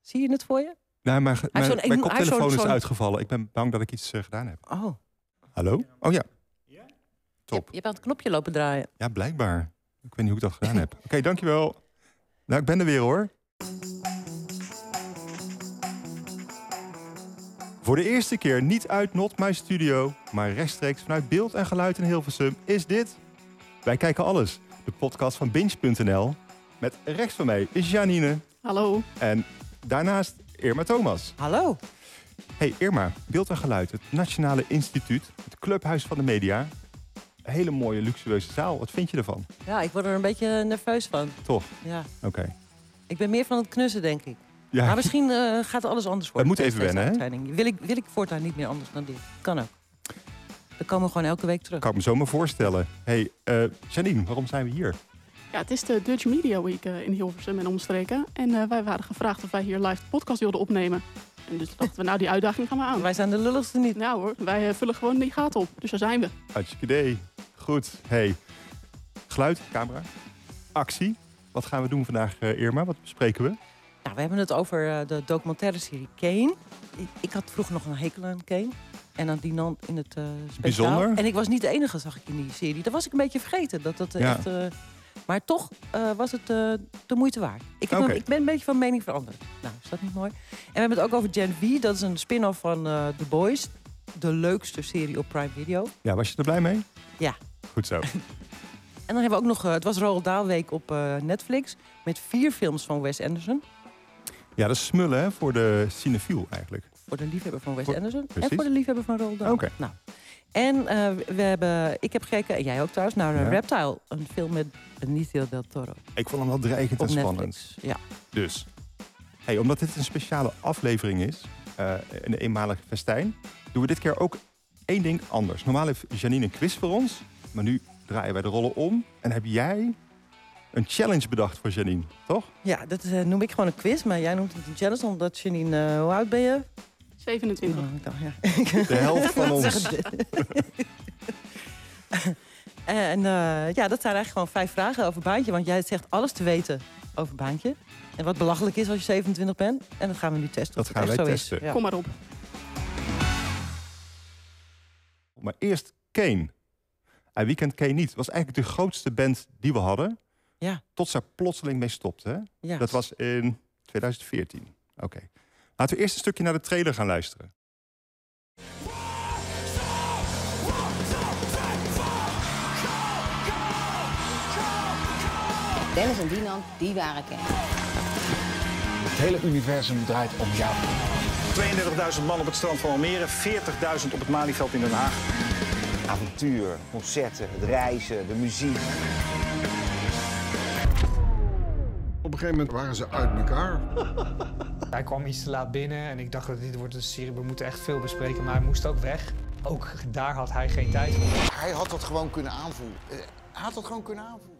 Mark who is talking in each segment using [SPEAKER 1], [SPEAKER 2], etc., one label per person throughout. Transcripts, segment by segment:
[SPEAKER 1] Zie je het voor je?
[SPEAKER 2] Nee, mijn, mijn,
[SPEAKER 1] zo'n-
[SPEAKER 2] mijn
[SPEAKER 1] hij heeft
[SPEAKER 2] koptelefoon
[SPEAKER 1] zo'n-
[SPEAKER 2] is
[SPEAKER 1] zo'n-
[SPEAKER 2] uitgevallen. Ik ben bang dat ik iets eh, gedaan heb.
[SPEAKER 1] Oh,
[SPEAKER 2] Hallo? Oh ja.
[SPEAKER 1] je,
[SPEAKER 2] Top.
[SPEAKER 1] hebt- je hebt aan het knopje lopen draaien.
[SPEAKER 2] Ja, blijkbaar. Ik weet niet hoe ik dat gedaan heb. Oké, dankjewel. Nou, ik ben er weer hoor. Voor de eerste keer niet uit Not My Studio, maar rechtstreeks vanuit beeld en geluid in Hilversum is dit. Wij kijken alles, de podcast van Binge.nl. Met rechts van mij is Janine
[SPEAKER 3] Hallo.
[SPEAKER 2] en daarnaast Irma Thomas.
[SPEAKER 1] Hallo.
[SPEAKER 2] Hey Irma, Beeld en Geluid, het Nationale Instituut, het Clubhuis van de Media. Een hele mooie, luxueuze zaal. Wat vind je ervan?
[SPEAKER 1] Ja, ik word er een beetje nerveus van.
[SPEAKER 2] Toch?
[SPEAKER 1] Ja.
[SPEAKER 2] Oké.
[SPEAKER 1] Ik ben meer van het knussen, denk ik.
[SPEAKER 2] Ja.
[SPEAKER 1] Maar misschien eh, gaat alles anders worden.
[SPEAKER 2] moet
[SPEAKER 1] tijdens
[SPEAKER 2] even
[SPEAKER 1] deze
[SPEAKER 2] wennen,
[SPEAKER 1] uitzending. Wil ik, wil ik voortaan niet meer anders dan dit? Kan ook. Dan komen we gewoon elke week terug.
[SPEAKER 2] Kan ik me zomaar voorstellen. hey, eh, Janine, waarom zijn we hier?
[SPEAKER 3] Ja, het is de Dutch Media Week eh, in Hilversum en omstreken. En eh, wij waren gevraagd of wij hier live de podcast wilden opnemen. En dus dachten we, nou die uitdaging gaan we aan.
[SPEAKER 1] Wij zijn de lulligste niet.
[SPEAKER 3] Nou hoor, wij eh, vullen gewoon die gaten op. Dus daar zijn we.
[SPEAKER 2] Hartstikke idee. Goed. Hey, geluid, camera, actie. Wat gaan we doen vandaag, eh, Irma? Wat bespreken we?
[SPEAKER 1] Nou, we hebben het over eh, de documentaire serie Kane. Ik, ik had vroeger nog een hekel aan Kane. En aan die Nant in het eh speciaal.
[SPEAKER 2] Bijzonder.
[SPEAKER 1] En ik was niet de enige, zag ik in die serie. Dat was ik een beetje vergeten. Dat, dat, eh,
[SPEAKER 2] Ja.
[SPEAKER 1] echt, eh, maar toch eh, was het eh, de moeite waard. Ik, heb
[SPEAKER 2] Oké.
[SPEAKER 1] hem- ik ben een beetje van mening veranderd. Nou, is dat niet mooi? En we hebben het ook over Gen V. Dat is een spin-off van eh, The Boys. De leukste serie op Prime Video.
[SPEAKER 2] Ja, was je er blij mee?
[SPEAKER 1] Ja.
[SPEAKER 2] Goed zo.
[SPEAKER 1] En dan hebben we ook nog... eh, het was Roald Dahl Week op eh, Netflix. Met vier films van Wes Anderson.
[SPEAKER 2] Ja, dat is smullen hè, voor de cinefiel eigenlijk.
[SPEAKER 1] Voor de liefhebber van Wes
[SPEAKER 2] Voor-
[SPEAKER 1] Anderson.
[SPEAKER 2] precies.
[SPEAKER 1] En voor de liefhebber van Roald Dahl.
[SPEAKER 2] Oké.
[SPEAKER 1] Nou. En eh, we hebben, ik heb gekeken, en jij ook trouwens, naar eh,
[SPEAKER 2] Ja.
[SPEAKER 1] Reptile. Een film met Benicio del Toro.
[SPEAKER 2] Ik vond hem wel dreigend
[SPEAKER 1] Op
[SPEAKER 2] en spannend.
[SPEAKER 1] Netflix. Ja.
[SPEAKER 2] Dus, hey, omdat dit een speciale aflevering is, eh, een eenmalig festijn, doen we dit keer ook één ding anders. Normaal heeft Janine een quiz voor ons, maar nu draaien wij de rollen om en heb jij een challenge bedacht voor Janine, toch?
[SPEAKER 1] ja, dat eh, noem ik gewoon een quiz, maar jij noemt het een challenge, omdat Janine, eh, hoe oud ben je?
[SPEAKER 3] 27.
[SPEAKER 1] Oh, ik dacht, ja.
[SPEAKER 2] De helft van
[SPEAKER 1] Wat
[SPEAKER 2] ons.
[SPEAKER 1] zeggen dit? en eh, ja, dat zijn eigenlijk gewoon vijf vragen over Baantje, want jij zegt alles te weten over Baantje. En wat belachelijk is als je 27 bent. En dat gaan we nu testen.
[SPEAKER 2] Dat
[SPEAKER 1] of het
[SPEAKER 2] gaan
[SPEAKER 1] echt
[SPEAKER 2] wij
[SPEAKER 1] zo Is.
[SPEAKER 2] testen.
[SPEAKER 1] Ja.
[SPEAKER 3] Kom maar op.
[SPEAKER 2] Maar eerst Kane. En wie kent Kane niet? Was eigenlijk de grootste band die we hadden.
[SPEAKER 1] Ja.
[SPEAKER 2] Tot ze er plotseling mee stopte. Hè?
[SPEAKER 1] Ja.
[SPEAKER 2] Dat was in 2014. Oké. Laten we eerst een stukje naar de trailer gaan luisteren.
[SPEAKER 4] Dennis en Dinant, die waren er. kennis.
[SPEAKER 5] Het hele universum draait om jou.
[SPEAKER 6] 32.000 man op het strand van Almere, 40.000 op het Malieveld in Den Haag.
[SPEAKER 7] avontuur, concerten, het reizen, de muziek.
[SPEAKER 8] Op een gegeven moment waren ze uit elkaar.
[SPEAKER 9] Hij kwam iets te laat binnen en ik dacht dat dit wordt een serie, we moeten echt veel bespreken, maar hij moest ook weg. Ook daar had hij geen tijd voor.
[SPEAKER 8] Hij had dat gewoon kunnen aanvoelen. Eh, Hij had dat gewoon kunnen aanvoelen.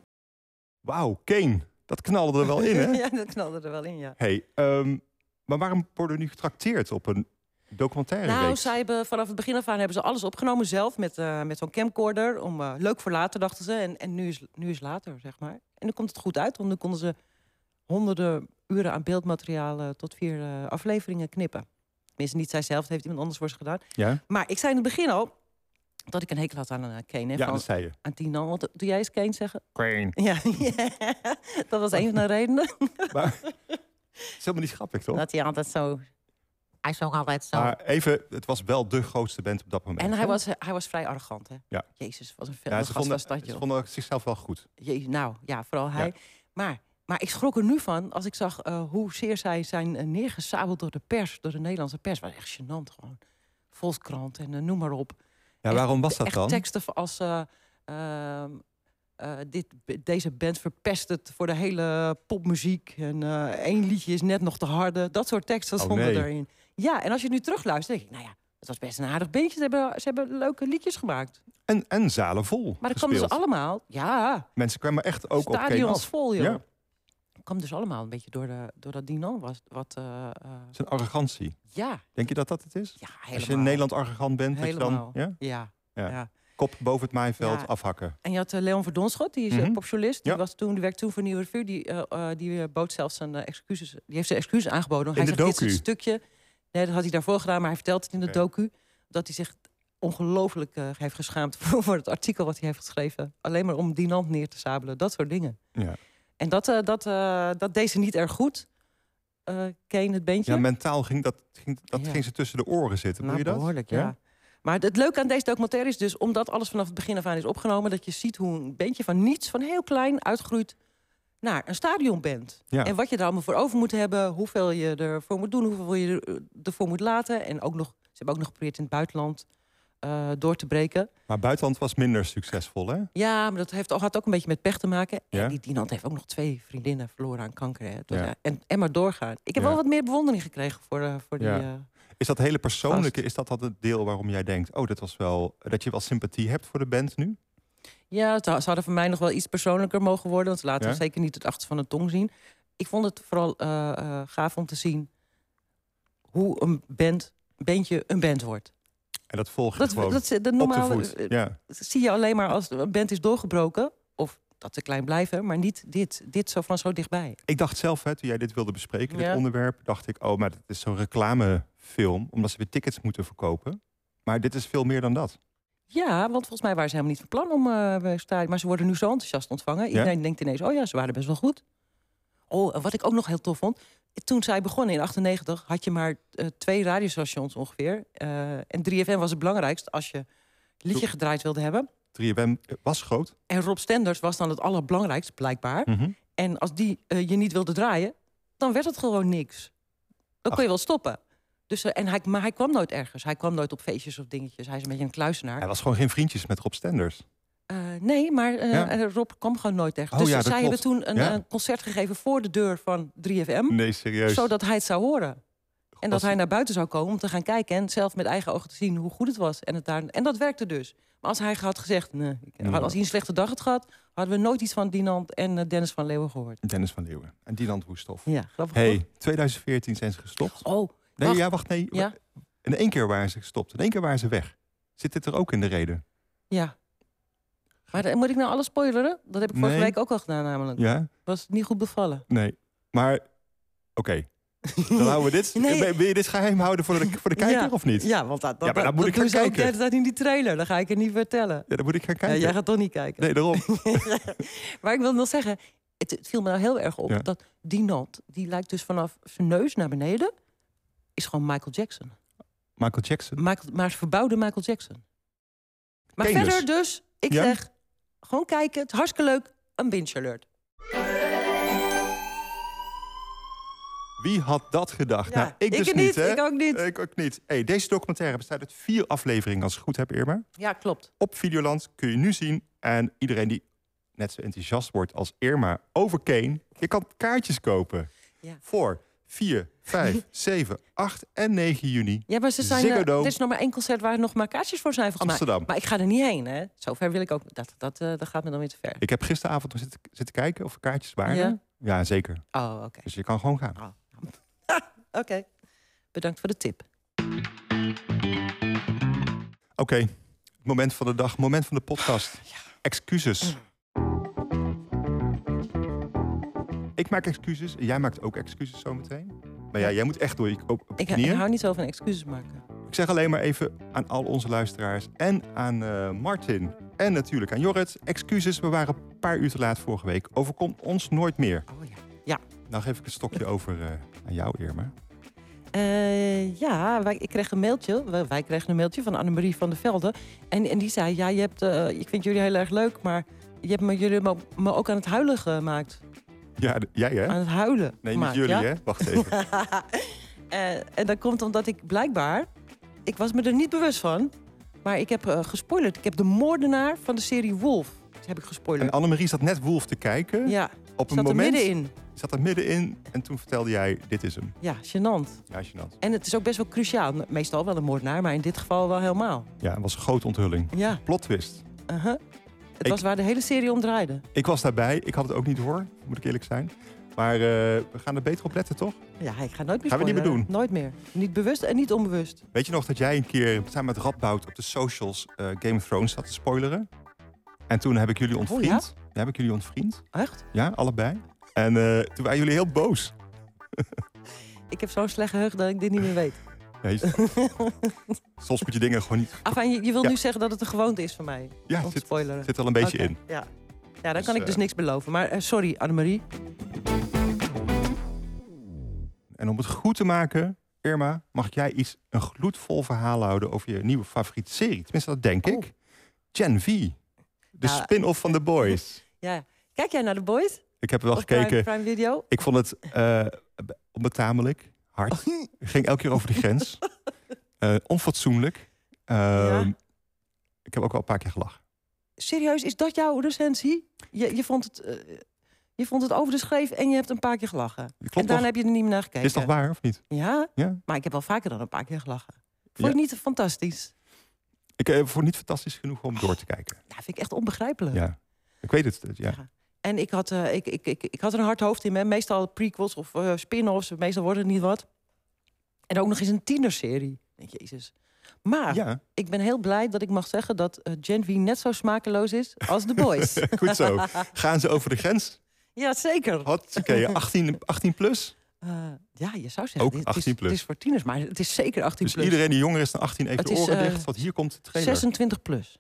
[SPEAKER 2] Wauw, Kane. Dat knalde er wel in, hè?
[SPEAKER 1] ja, dat knalde er wel in, ja.
[SPEAKER 2] hey, ehm, maar waarom worden we nu getrakteerd op een documentaire
[SPEAKER 1] Nou,
[SPEAKER 2] reeks?
[SPEAKER 1] zij hebben, vanaf het begin af aan hebben ze alles opgenomen zelf met, eh, met zo'n camcorder. Om, eh, leuk voor later, dachten ze. En, en nu, is, nu is later, zeg maar. En dan komt het goed uit, want nu konden ze honderden uren aan beeldmateriaal eh, tot vier eh, afleveringen knippen. Tenminste, niet zij zelf, dat heeft iemand anders voor ze gedaan.
[SPEAKER 2] Ja,
[SPEAKER 1] Maar ik zei in het begin al dat ik een hekel had aan eh, Kane. Hè,
[SPEAKER 2] ja dus-
[SPEAKER 1] van-
[SPEAKER 2] dat zei je.
[SPEAKER 1] aan Tino, want doe jij eens Kane zeggen?
[SPEAKER 2] Kane.
[SPEAKER 1] Ja, dat was een van de redenen.
[SPEAKER 2] Maar het is helemaal niet grappig, toch?
[SPEAKER 1] Dat hij altijd zo... Hij zong altijd zo.
[SPEAKER 2] Maar even, het was wel de grootste band op dat moment.
[SPEAKER 1] En hij
[SPEAKER 2] hè?
[SPEAKER 1] was, hij was vrij arrogant, hè?
[SPEAKER 2] Ja.
[SPEAKER 1] Jezus, wat een fel
[SPEAKER 2] Ja, ze
[SPEAKER 1] gast was dat,
[SPEAKER 2] vonden,
[SPEAKER 1] joh.
[SPEAKER 2] ze vonden zichzelf wel goed.
[SPEAKER 1] Jee, nou, ja, vooral hij.
[SPEAKER 2] Ja.
[SPEAKER 1] Maar, maar ik schrok er nu van als ik zag eh hoe zeer zij zijn eh, neergesabeld door de pers. Door de Nederlandse pers. was echt gênant gewoon. Volkskrant en eh, noem maar op.
[SPEAKER 2] Ja, waarom was dat
[SPEAKER 1] echt
[SPEAKER 2] dan?
[SPEAKER 1] teksten als... eh, ehm, eh, dit, deze band verpest het voor de hele popmuziek. En eh, één liedje is net nog te harde. Dat soort teksten
[SPEAKER 2] Oh,
[SPEAKER 1] stonden
[SPEAKER 2] nee.
[SPEAKER 1] erin. Ja, en als je het nu terugluistert, denk ik... Nou ja, het was best een aardig bandje. Ze hebben, ze hebben leuke liedjes gemaakt.
[SPEAKER 2] En, en zalen vol
[SPEAKER 1] Maar dat kwam
[SPEAKER 2] gespeeld.
[SPEAKER 1] dus allemaal... Ja,
[SPEAKER 2] Mensen kwamen echt ook op Kane
[SPEAKER 1] stadions
[SPEAKER 2] af.
[SPEAKER 1] vol, joh.
[SPEAKER 2] Ja,
[SPEAKER 1] kwam dus allemaal een beetje door, de, door dat Dino was. Wat, eh, eh,
[SPEAKER 2] zijn arrogantie.
[SPEAKER 1] ja,
[SPEAKER 2] Denk je dat dat het is?
[SPEAKER 1] ja, helemaal.
[SPEAKER 2] Als je in Nederland arrogant bent, dat je
[SPEAKER 1] helemaal.
[SPEAKER 2] dan... Ja?
[SPEAKER 1] Ja,
[SPEAKER 2] Ja.
[SPEAKER 1] ja.
[SPEAKER 2] kop boven het maaiveld
[SPEAKER 1] Ja.
[SPEAKER 2] afhakken.
[SPEAKER 1] En je had eh, Leon Verdonschot, die is eh,
[SPEAKER 2] Mhm.
[SPEAKER 1] populist. Die,
[SPEAKER 2] Ja.
[SPEAKER 1] was toen, die werkte toen voor Nieuwe Revue. Die, eh, eh, die eh, bood zelfs zijn eh, excuses. Die heeft zijn excuses aangeboden. Want
[SPEAKER 2] In
[SPEAKER 1] hij
[SPEAKER 2] de
[SPEAKER 1] zegt, dit is het
[SPEAKER 2] docu?
[SPEAKER 1] stukje. Nee, dat had hij daarvoor gedaan, maar hij vertelt het in de
[SPEAKER 2] Oké.
[SPEAKER 1] docu. Dat hij zich ongelooflijk eh, heeft geschaamd voor, voor het artikel wat hij heeft geschreven. Alleen maar om Dinant neer te sabelen. Dat soort dingen.
[SPEAKER 2] Ja.
[SPEAKER 1] En dat, eh, dat, eh, dat deed ze niet erg goed. Eh Kane, het beentje.
[SPEAKER 2] Ja, mentaal ging dat, ging, dat
[SPEAKER 1] Ja.
[SPEAKER 2] ging ze tussen de oren zitten. Doe
[SPEAKER 1] Nou,
[SPEAKER 2] je dat?
[SPEAKER 1] behoorlijk, ja. Maar het leuke aan deze documentaire is dus... omdat alles vanaf het begin af aan is opgenomen... dat je ziet hoe een bandje van niets, van heel klein, uitgroeit... naar een stadion bent.
[SPEAKER 2] Ja.
[SPEAKER 1] En wat je daar allemaal voor over moet hebben... hoeveel je ervoor moet doen, hoeveel je er- eh, ervoor moet laten. En ook nog, ze hebben ook nog geprobeerd in het buitenland eh, door te breken.
[SPEAKER 2] Maar buitenland was minder succesvol, hè?
[SPEAKER 1] Ja, maar dat heeft, had ook een beetje met pech te maken.
[SPEAKER 2] Ja?
[SPEAKER 1] En die Dinant heeft ook nog twee vriendinnen verloren aan kanker. Hè. Dus
[SPEAKER 2] Ja.
[SPEAKER 1] ja, en, en maar doorgaan. Ik heb
[SPEAKER 2] Ja.
[SPEAKER 1] wel wat meer bewondering gekregen voor, eh, voor die...
[SPEAKER 2] Ja.
[SPEAKER 1] eh,
[SPEAKER 2] Is dat hele persoonlijke, is dat dat het deel waarom jij denkt... oh, dat was wel, dat je wel sympathie hebt voor de band nu?
[SPEAKER 1] Ja, het- ze hadden voor mij nog wel iets persoonlijker mogen worden. Want ze laten
[SPEAKER 2] Ja?
[SPEAKER 1] zeker niet het achterste van de tong zien. Ik vond het vooral eh, eh, gaaf om te zien hoe een band, bandje een band wordt.
[SPEAKER 2] En dat volg je
[SPEAKER 1] Dat,
[SPEAKER 2] gewoon
[SPEAKER 1] dat, de
[SPEAKER 2] op de
[SPEAKER 1] normale
[SPEAKER 2] voet.
[SPEAKER 1] eh,
[SPEAKER 2] ja.
[SPEAKER 1] zie je alleen maar als een band is doorgebroken. Of dat ze klein blijven, maar niet dit. Dit zo van zo dichtbij.
[SPEAKER 2] Ik dacht zelf, hè, toen jij dit wilde bespreken, dit
[SPEAKER 1] Ja.
[SPEAKER 2] onderwerp... dacht ik, oh, maar dit is zo'n reclamefilm... omdat ze weer tickets moeten verkopen. Maar dit is veel meer dan dat.
[SPEAKER 1] Ja, want volgens mij waren ze helemaal niet van plan om eh stadion. Maar ze worden nu zo enthousiast ontvangen. Iedereen denkt ineens, oh ja, ze waren best wel goed. Oh, en wat ik ook nog heel tof vond. Toen zij begonnen in 98 had je maar eh, twee radiostations ongeveer. Eh, en 3FM was het belangrijkst als je een liedje gedraaid wilde hebben.
[SPEAKER 2] 3FM eh, was groot.
[SPEAKER 1] En Rob Stenders was dan het allerbelangrijkst, blijkbaar.
[SPEAKER 2] Mhm.
[SPEAKER 1] En als die eh, je niet wilde draaien, dan werd het gewoon niks. Dan kon je wel stoppen. Dus, eh, en hij, maar hij kwam nooit ergens. Hij kwam nooit op feestjes of dingetjes. Hij is een beetje een kluisenaar.
[SPEAKER 2] Hij was gewoon geen vriendjes met Rob Stenders.
[SPEAKER 1] Eh, nee, maar eh,
[SPEAKER 2] Ja.
[SPEAKER 1] eh, Rob kwam gewoon nooit echt.
[SPEAKER 2] Oh
[SPEAKER 1] dus
[SPEAKER 2] ja, dat
[SPEAKER 1] zij
[SPEAKER 2] klopt.
[SPEAKER 1] hebben toen een
[SPEAKER 2] Ja.
[SPEAKER 1] eh, concert gegeven voor de deur van 3FM.
[SPEAKER 2] Nee, serieus.
[SPEAKER 1] Zodat hij het zou horen. En dat
[SPEAKER 2] Was-
[SPEAKER 1] hij naar buiten zou komen om te gaan kijken... en zelf met eigen ogen te zien hoe goed het was. En, het daar... en dat werkte dus. Maar als hij had gezegd... Nee, ik-
[SPEAKER 2] Ja.
[SPEAKER 1] als hij een slechte dag had gehad... hadden we nooit iets van Dinant en eh, Dennis van Leeuwen gehoord.
[SPEAKER 2] Dennis van Leeuwen en Dylan Woesthoff.
[SPEAKER 1] Ja, grappig.
[SPEAKER 2] Hey, 2014 zijn ze gestopt.
[SPEAKER 1] toch? Oh,
[SPEAKER 2] Nee,
[SPEAKER 1] wacht.
[SPEAKER 2] ja, wacht, nee.
[SPEAKER 1] Ja.
[SPEAKER 2] In één keer waren ze gestopt. In één keer waren ze weg. Zit dit er ook in de reden?
[SPEAKER 1] ja. Maar eh, moet ik nou alles spoileren? Dat heb ik vorige
[SPEAKER 2] Nee.
[SPEAKER 1] week ook al gedaan namelijk.
[SPEAKER 2] Ja?
[SPEAKER 1] Was het niet goed bevallen.
[SPEAKER 2] Nee. Maar, oké. Dan houden we dit.
[SPEAKER 1] Nee.
[SPEAKER 2] Wil- Wil je dit geheim houden voor de, voor de kijker
[SPEAKER 1] Ja.
[SPEAKER 2] of niet?
[SPEAKER 1] Ja, want dat, dat,
[SPEAKER 2] Ja, maar dan moet
[SPEAKER 1] dat
[SPEAKER 2] ik
[SPEAKER 1] doen
[SPEAKER 2] gaan
[SPEAKER 1] ze ook de
[SPEAKER 2] kijken.
[SPEAKER 1] hele tijd in die trailer. Dan ga ik het niet vertellen.
[SPEAKER 2] Ja, dan moet ik gaan
[SPEAKER 1] Ja,
[SPEAKER 2] kijken.
[SPEAKER 1] jij gaat toch niet kijken.
[SPEAKER 2] Nee, daarom.
[SPEAKER 1] Maar ik wil nog zeggen, het, het viel me nou heel erg op...
[SPEAKER 2] Ja.
[SPEAKER 1] dat die nat, die lijkt dus vanaf zijn neus naar beneden... is gewoon Michael Jackson.
[SPEAKER 2] Michael Jackson.
[SPEAKER 1] Michael, maar verbouwde Michael Jackson. Maar
[SPEAKER 2] Ken je
[SPEAKER 1] verder dus, ik
[SPEAKER 2] Ja.
[SPEAKER 1] zeg, gewoon kijken. Het is hartstikke leuk. Een binge alert.
[SPEAKER 2] Wie had dat gedacht?
[SPEAKER 1] Ja,
[SPEAKER 2] nou, ik,
[SPEAKER 1] ik
[SPEAKER 2] dus
[SPEAKER 1] niet,
[SPEAKER 2] hè?
[SPEAKER 1] ik ook niet.
[SPEAKER 2] Ik ook niet. Hey, deze documentaire bestaat uit vier afleveringen, als ik het goed heb, Irma.
[SPEAKER 1] Ja, klopt.
[SPEAKER 2] Op Videoland kun je nu zien. En iedereen die net zo enthousiast wordt als Irma over Kane... je kan kaartjes kopen
[SPEAKER 1] Ja.
[SPEAKER 2] voor 4, 5, 7, 8 en 9 juni.
[SPEAKER 1] Ja, maar ze zijn, eh,
[SPEAKER 2] Ziggo Dome.
[SPEAKER 1] er is nog maar één concert waar nog maar kaartjes voor zijn volgens
[SPEAKER 2] Amsterdam.
[SPEAKER 1] mij. Maar ik ga er niet heen, hè. Zover wil ik ook... Dat, dat, eh, dat gaat me dan weer te ver.
[SPEAKER 2] Ik heb gisteravond nog zitten, zitten kijken of er kaartjes waren.
[SPEAKER 1] Ja?
[SPEAKER 2] ja, zeker.
[SPEAKER 1] Oh, oké.
[SPEAKER 2] Dus je kan gewoon gaan.
[SPEAKER 1] Oh. Oké. Bedankt voor de tip.
[SPEAKER 2] Oké, het moment van de dag, moment van de podcast. Excuses.
[SPEAKER 1] Mm.
[SPEAKER 2] Ik maak excuses, jij maakt ook excuses zometeen. Maar ja, jij moet echt door je op, op je
[SPEAKER 1] Ik, ik
[SPEAKER 2] knieën.
[SPEAKER 1] hou niet zo van excuses maken.
[SPEAKER 2] Ik zeg alleen maar even aan al onze luisteraars en aan eh, Martin en natuurlijk aan Jorrit. Excuses, we waren een paar uur te laat vorige week. Overkomt ons nooit meer.
[SPEAKER 1] Oh ja.
[SPEAKER 2] Nou geef ik het stokje over eh, aan jou, Irma.
[SPEAKER 1] Eh, ja, wij, ik kreeg een mailtje. Wij, wij kregen een mailtje van Annemarie van der Velde. En, en die zei, ja, je hebt, eh, ik vind jullie heel erg leuk, maar je hebt me, jullie hebben me, me ook aan het huilen gemaakt.
[SPEAKER 2] Ja, d- jij hè?
[SPEAKER 1] Aan het huilen.
[SPEAKER 2] Nee, niet
[SPEAKER 1] gemaakt,
[SPEAKER 2] jullie
[SPEAKER 1] ja.
[SPEAKER 2] hè? Wacht even.
[SPEAKER 1] Eh, en dat komt omdat ik blijkbaar, ik was me er niet bewust van, maar ik heb eh, gespoilerd. Ik heb de moordenaar van de serie Wolf, dat heb ik
[SPEAKER 2] En
[SPEAKER 1] gespoilerd.
[SPEAKER 2] Annemarie zat net Wolf te kijken.
[SPEAKER 1] ja,
[SPEAKER 2] Op een
[SPEAKER 1] zat er
[SPEAKER 2] moment
[SPEAKER 1] middenin.
[SPEAKER 2] zat er middenin en toen vertelde jij, dit is hem.
[SPEAKER 1] Ja, gênant.
[SPEAKER 2] Ja, gênant.
[SPEAKER 1] En het is ook best wel cruciaal. Meestal wel een moordenaar, maar in dit geval wel helemaal.
[SPEAKER 2] Ja, het was een grote onthulling.
[SPEAKER 1] Ja,
[SPEAKER 2] Plot twist.
[SPEAKER 1] uh-huh. Het
[SPEAKER 2] Ik-
[SPEAKER 1] was waar de hele serie om draaide.
[SPEAKER 2] Ik was daarbij, ik had het ook niet hoor, moet ik eerlijk zijn. Maar Maar eh, we gaan er beter op letten, toch?
[SPEAKER 1] Ja, ik ga nooit meer
[SPEAKER 2] Gaan we
[SPEAKER 1] spoileren.
[SPEAKER 2] niet meer doen?
[SPEAKER 1] Nooit meer. Niet bewust en niet onbewust.
[SPEAKER 2] Weet je nog dat jij een keer samen met Radboud op de socials eh, Game of Thrones zat te spoileren? En toen heb ik jullie
[SPEAKER 1] Oh, ja?
[SPEAKER 2] ontvriend. Ja, heb ik jullie ontvriend.
[SPEAKER 1] Echt?
[SPEAKER 2] Ja, allebei. En eh, toen waren jullie heel boos.
[SPEAKER 1] Ik heb zo'n slecht geheugen dat ik dit niet meer weet.
[SPEAKER 2] Ja, je- Soms moet je dingen gewoon niet...
[SPEAKER 1] Afijn, je, je wil
[SPEAKER 2] Ja.
[SPEAKER 1] nu zeggen dat het een gewoonte is van mij.
[SPEAKER 2] Ja,
[SPEAKER 1] Om te
[SPEAKER 2] het zit,
[SPEAKER 1] spoileren.
[SPEAKER 2] zit er al een beetje
[SPEAKER 1] Oké,
[SPEAKER 2] in.
[SPEAKER 1] Ja, ja dan
[SPEAKER 2] Dus,
[SPEAKER 1] kan ik dus
[SPEAKER 2] eh,
[SPEAKER 1] niks beloven. Maar eh, sorry, Annemarie.
[SPEAKER 2] En om het goed te maken, Irma, mag jij iets een gloedvol verhaal houden over je nieuwe favoriete serie? Tenminste, dat denk ik. Gen V. De
[SPEAKER 1] Oh. Ja.
[SPEAKER 2] spin-off van The Boys.
[SPEAKER 1] Ja. Kijk jij naar de boys?
[SPEAKER 2] Ik heb er wel
[SPEAKER 1] Op Prime-
[SPEAKER 2] gekeken.
[SPEAKER 1] Prime Video? Oh,
[SPEAKER 2] Ik vond het eh onbetamelijk hard.
[SPEAKER 1] hm.
[SPEAKER 2] Ging elke keer over de grens. Eh, onfatsoenlijk. Ehm,
[SPEAKER 1] Ja.
[SPEAKER 2] Ik heb ook wel een paar keer gelachen.
[SPEAKER 1] Serieus, is dat jouw recensie? Je, je, vond het, eh, je vond het over de schreef en je hebt een paar keer gelachen.
[SPEAKER 2] Klopt
[SPEAKER 1] en daarna
[SPEAKER 2] toch?
[SPEAKER 1] heb je er niet meer naar gekeken.
[SPEAKER 2] Is dat waar of niet?
[SPEAKER 1] Ja,
[SPEAKER 2] Ja.
[SPEAKER 1] maar ik heb wel vaker dan een paar keer gelachen. Vond je
[SPEAKER 2] Ja.
[SPEAKER 1] het niet fantastisch?
[SPEAKER 2] Ik eh, vond het niet fantastisch genoeg om door te kijken.
[SPEAKER 1] Ja, vind ik echt onbegrijpelijk.
[SPEAKER 2] Ja. Ik weet het. eh, Ja.
[SPEAKER 1] En ik had, eh, ik, ik, ik, ik had er een hard hoofd in. Hè. Meestal prequels of eh, spin-offs. Meestal wordt het niet wat. En ook nog eens een tienerserie. Ik denk, Jezus. Maar
[SPEAKER 2] ja,
[SPEAKER 1] ik ben heel blij dat ik mag zeggen dat eh, Gen V net zo smakeloos is als The Boys.
[SPEAKER 2] goed zo. Gaan ze over de grens?
[SPEAKER 1] ja, zeker.
[SPEAKER 2] Wat? Oké, 18, 18 plus.
[SPEAKER 1] Eh, ja, je zou zeggen,
[SPEAKER 2] Ook
[SPEAKER 1] dit-
[SPEAKER 2] 18
[SPEAKER 1] het, is,
[SPEAKER 2] plus.
[SPEAKER 1] het is voor tieners, maar het is zeker 18
[SPEAKER 2] Dus
[SPEAKER 1] plus.
[SPEAKER 2] iedereen die jonger is dan 18 even
[SPEAKER 1] Het
[SPEAKER 2] de
[SPEAKER 1] is,
[SPEAKER 2] oren
[SPEAKER 1] eh,
[SPEAKER 2] dicht, want hier komt de trailer.
[SPEAKER 1] 26 plus.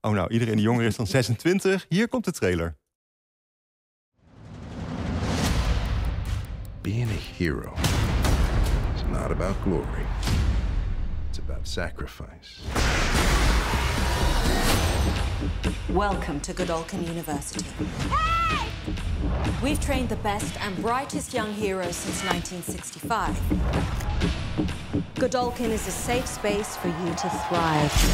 [SPEAKER 2] Oh nou, iedereen die jonger is dan 26, hier komt de trailer.
[SPEAKER 10] Being a hero is not about glory, it's about sacrifice.
[SPEAKER 11] Welcome to Godolphin University. We've trained the best and brightest young heroes since 1965. Godolphin is a safe space for you to thrive.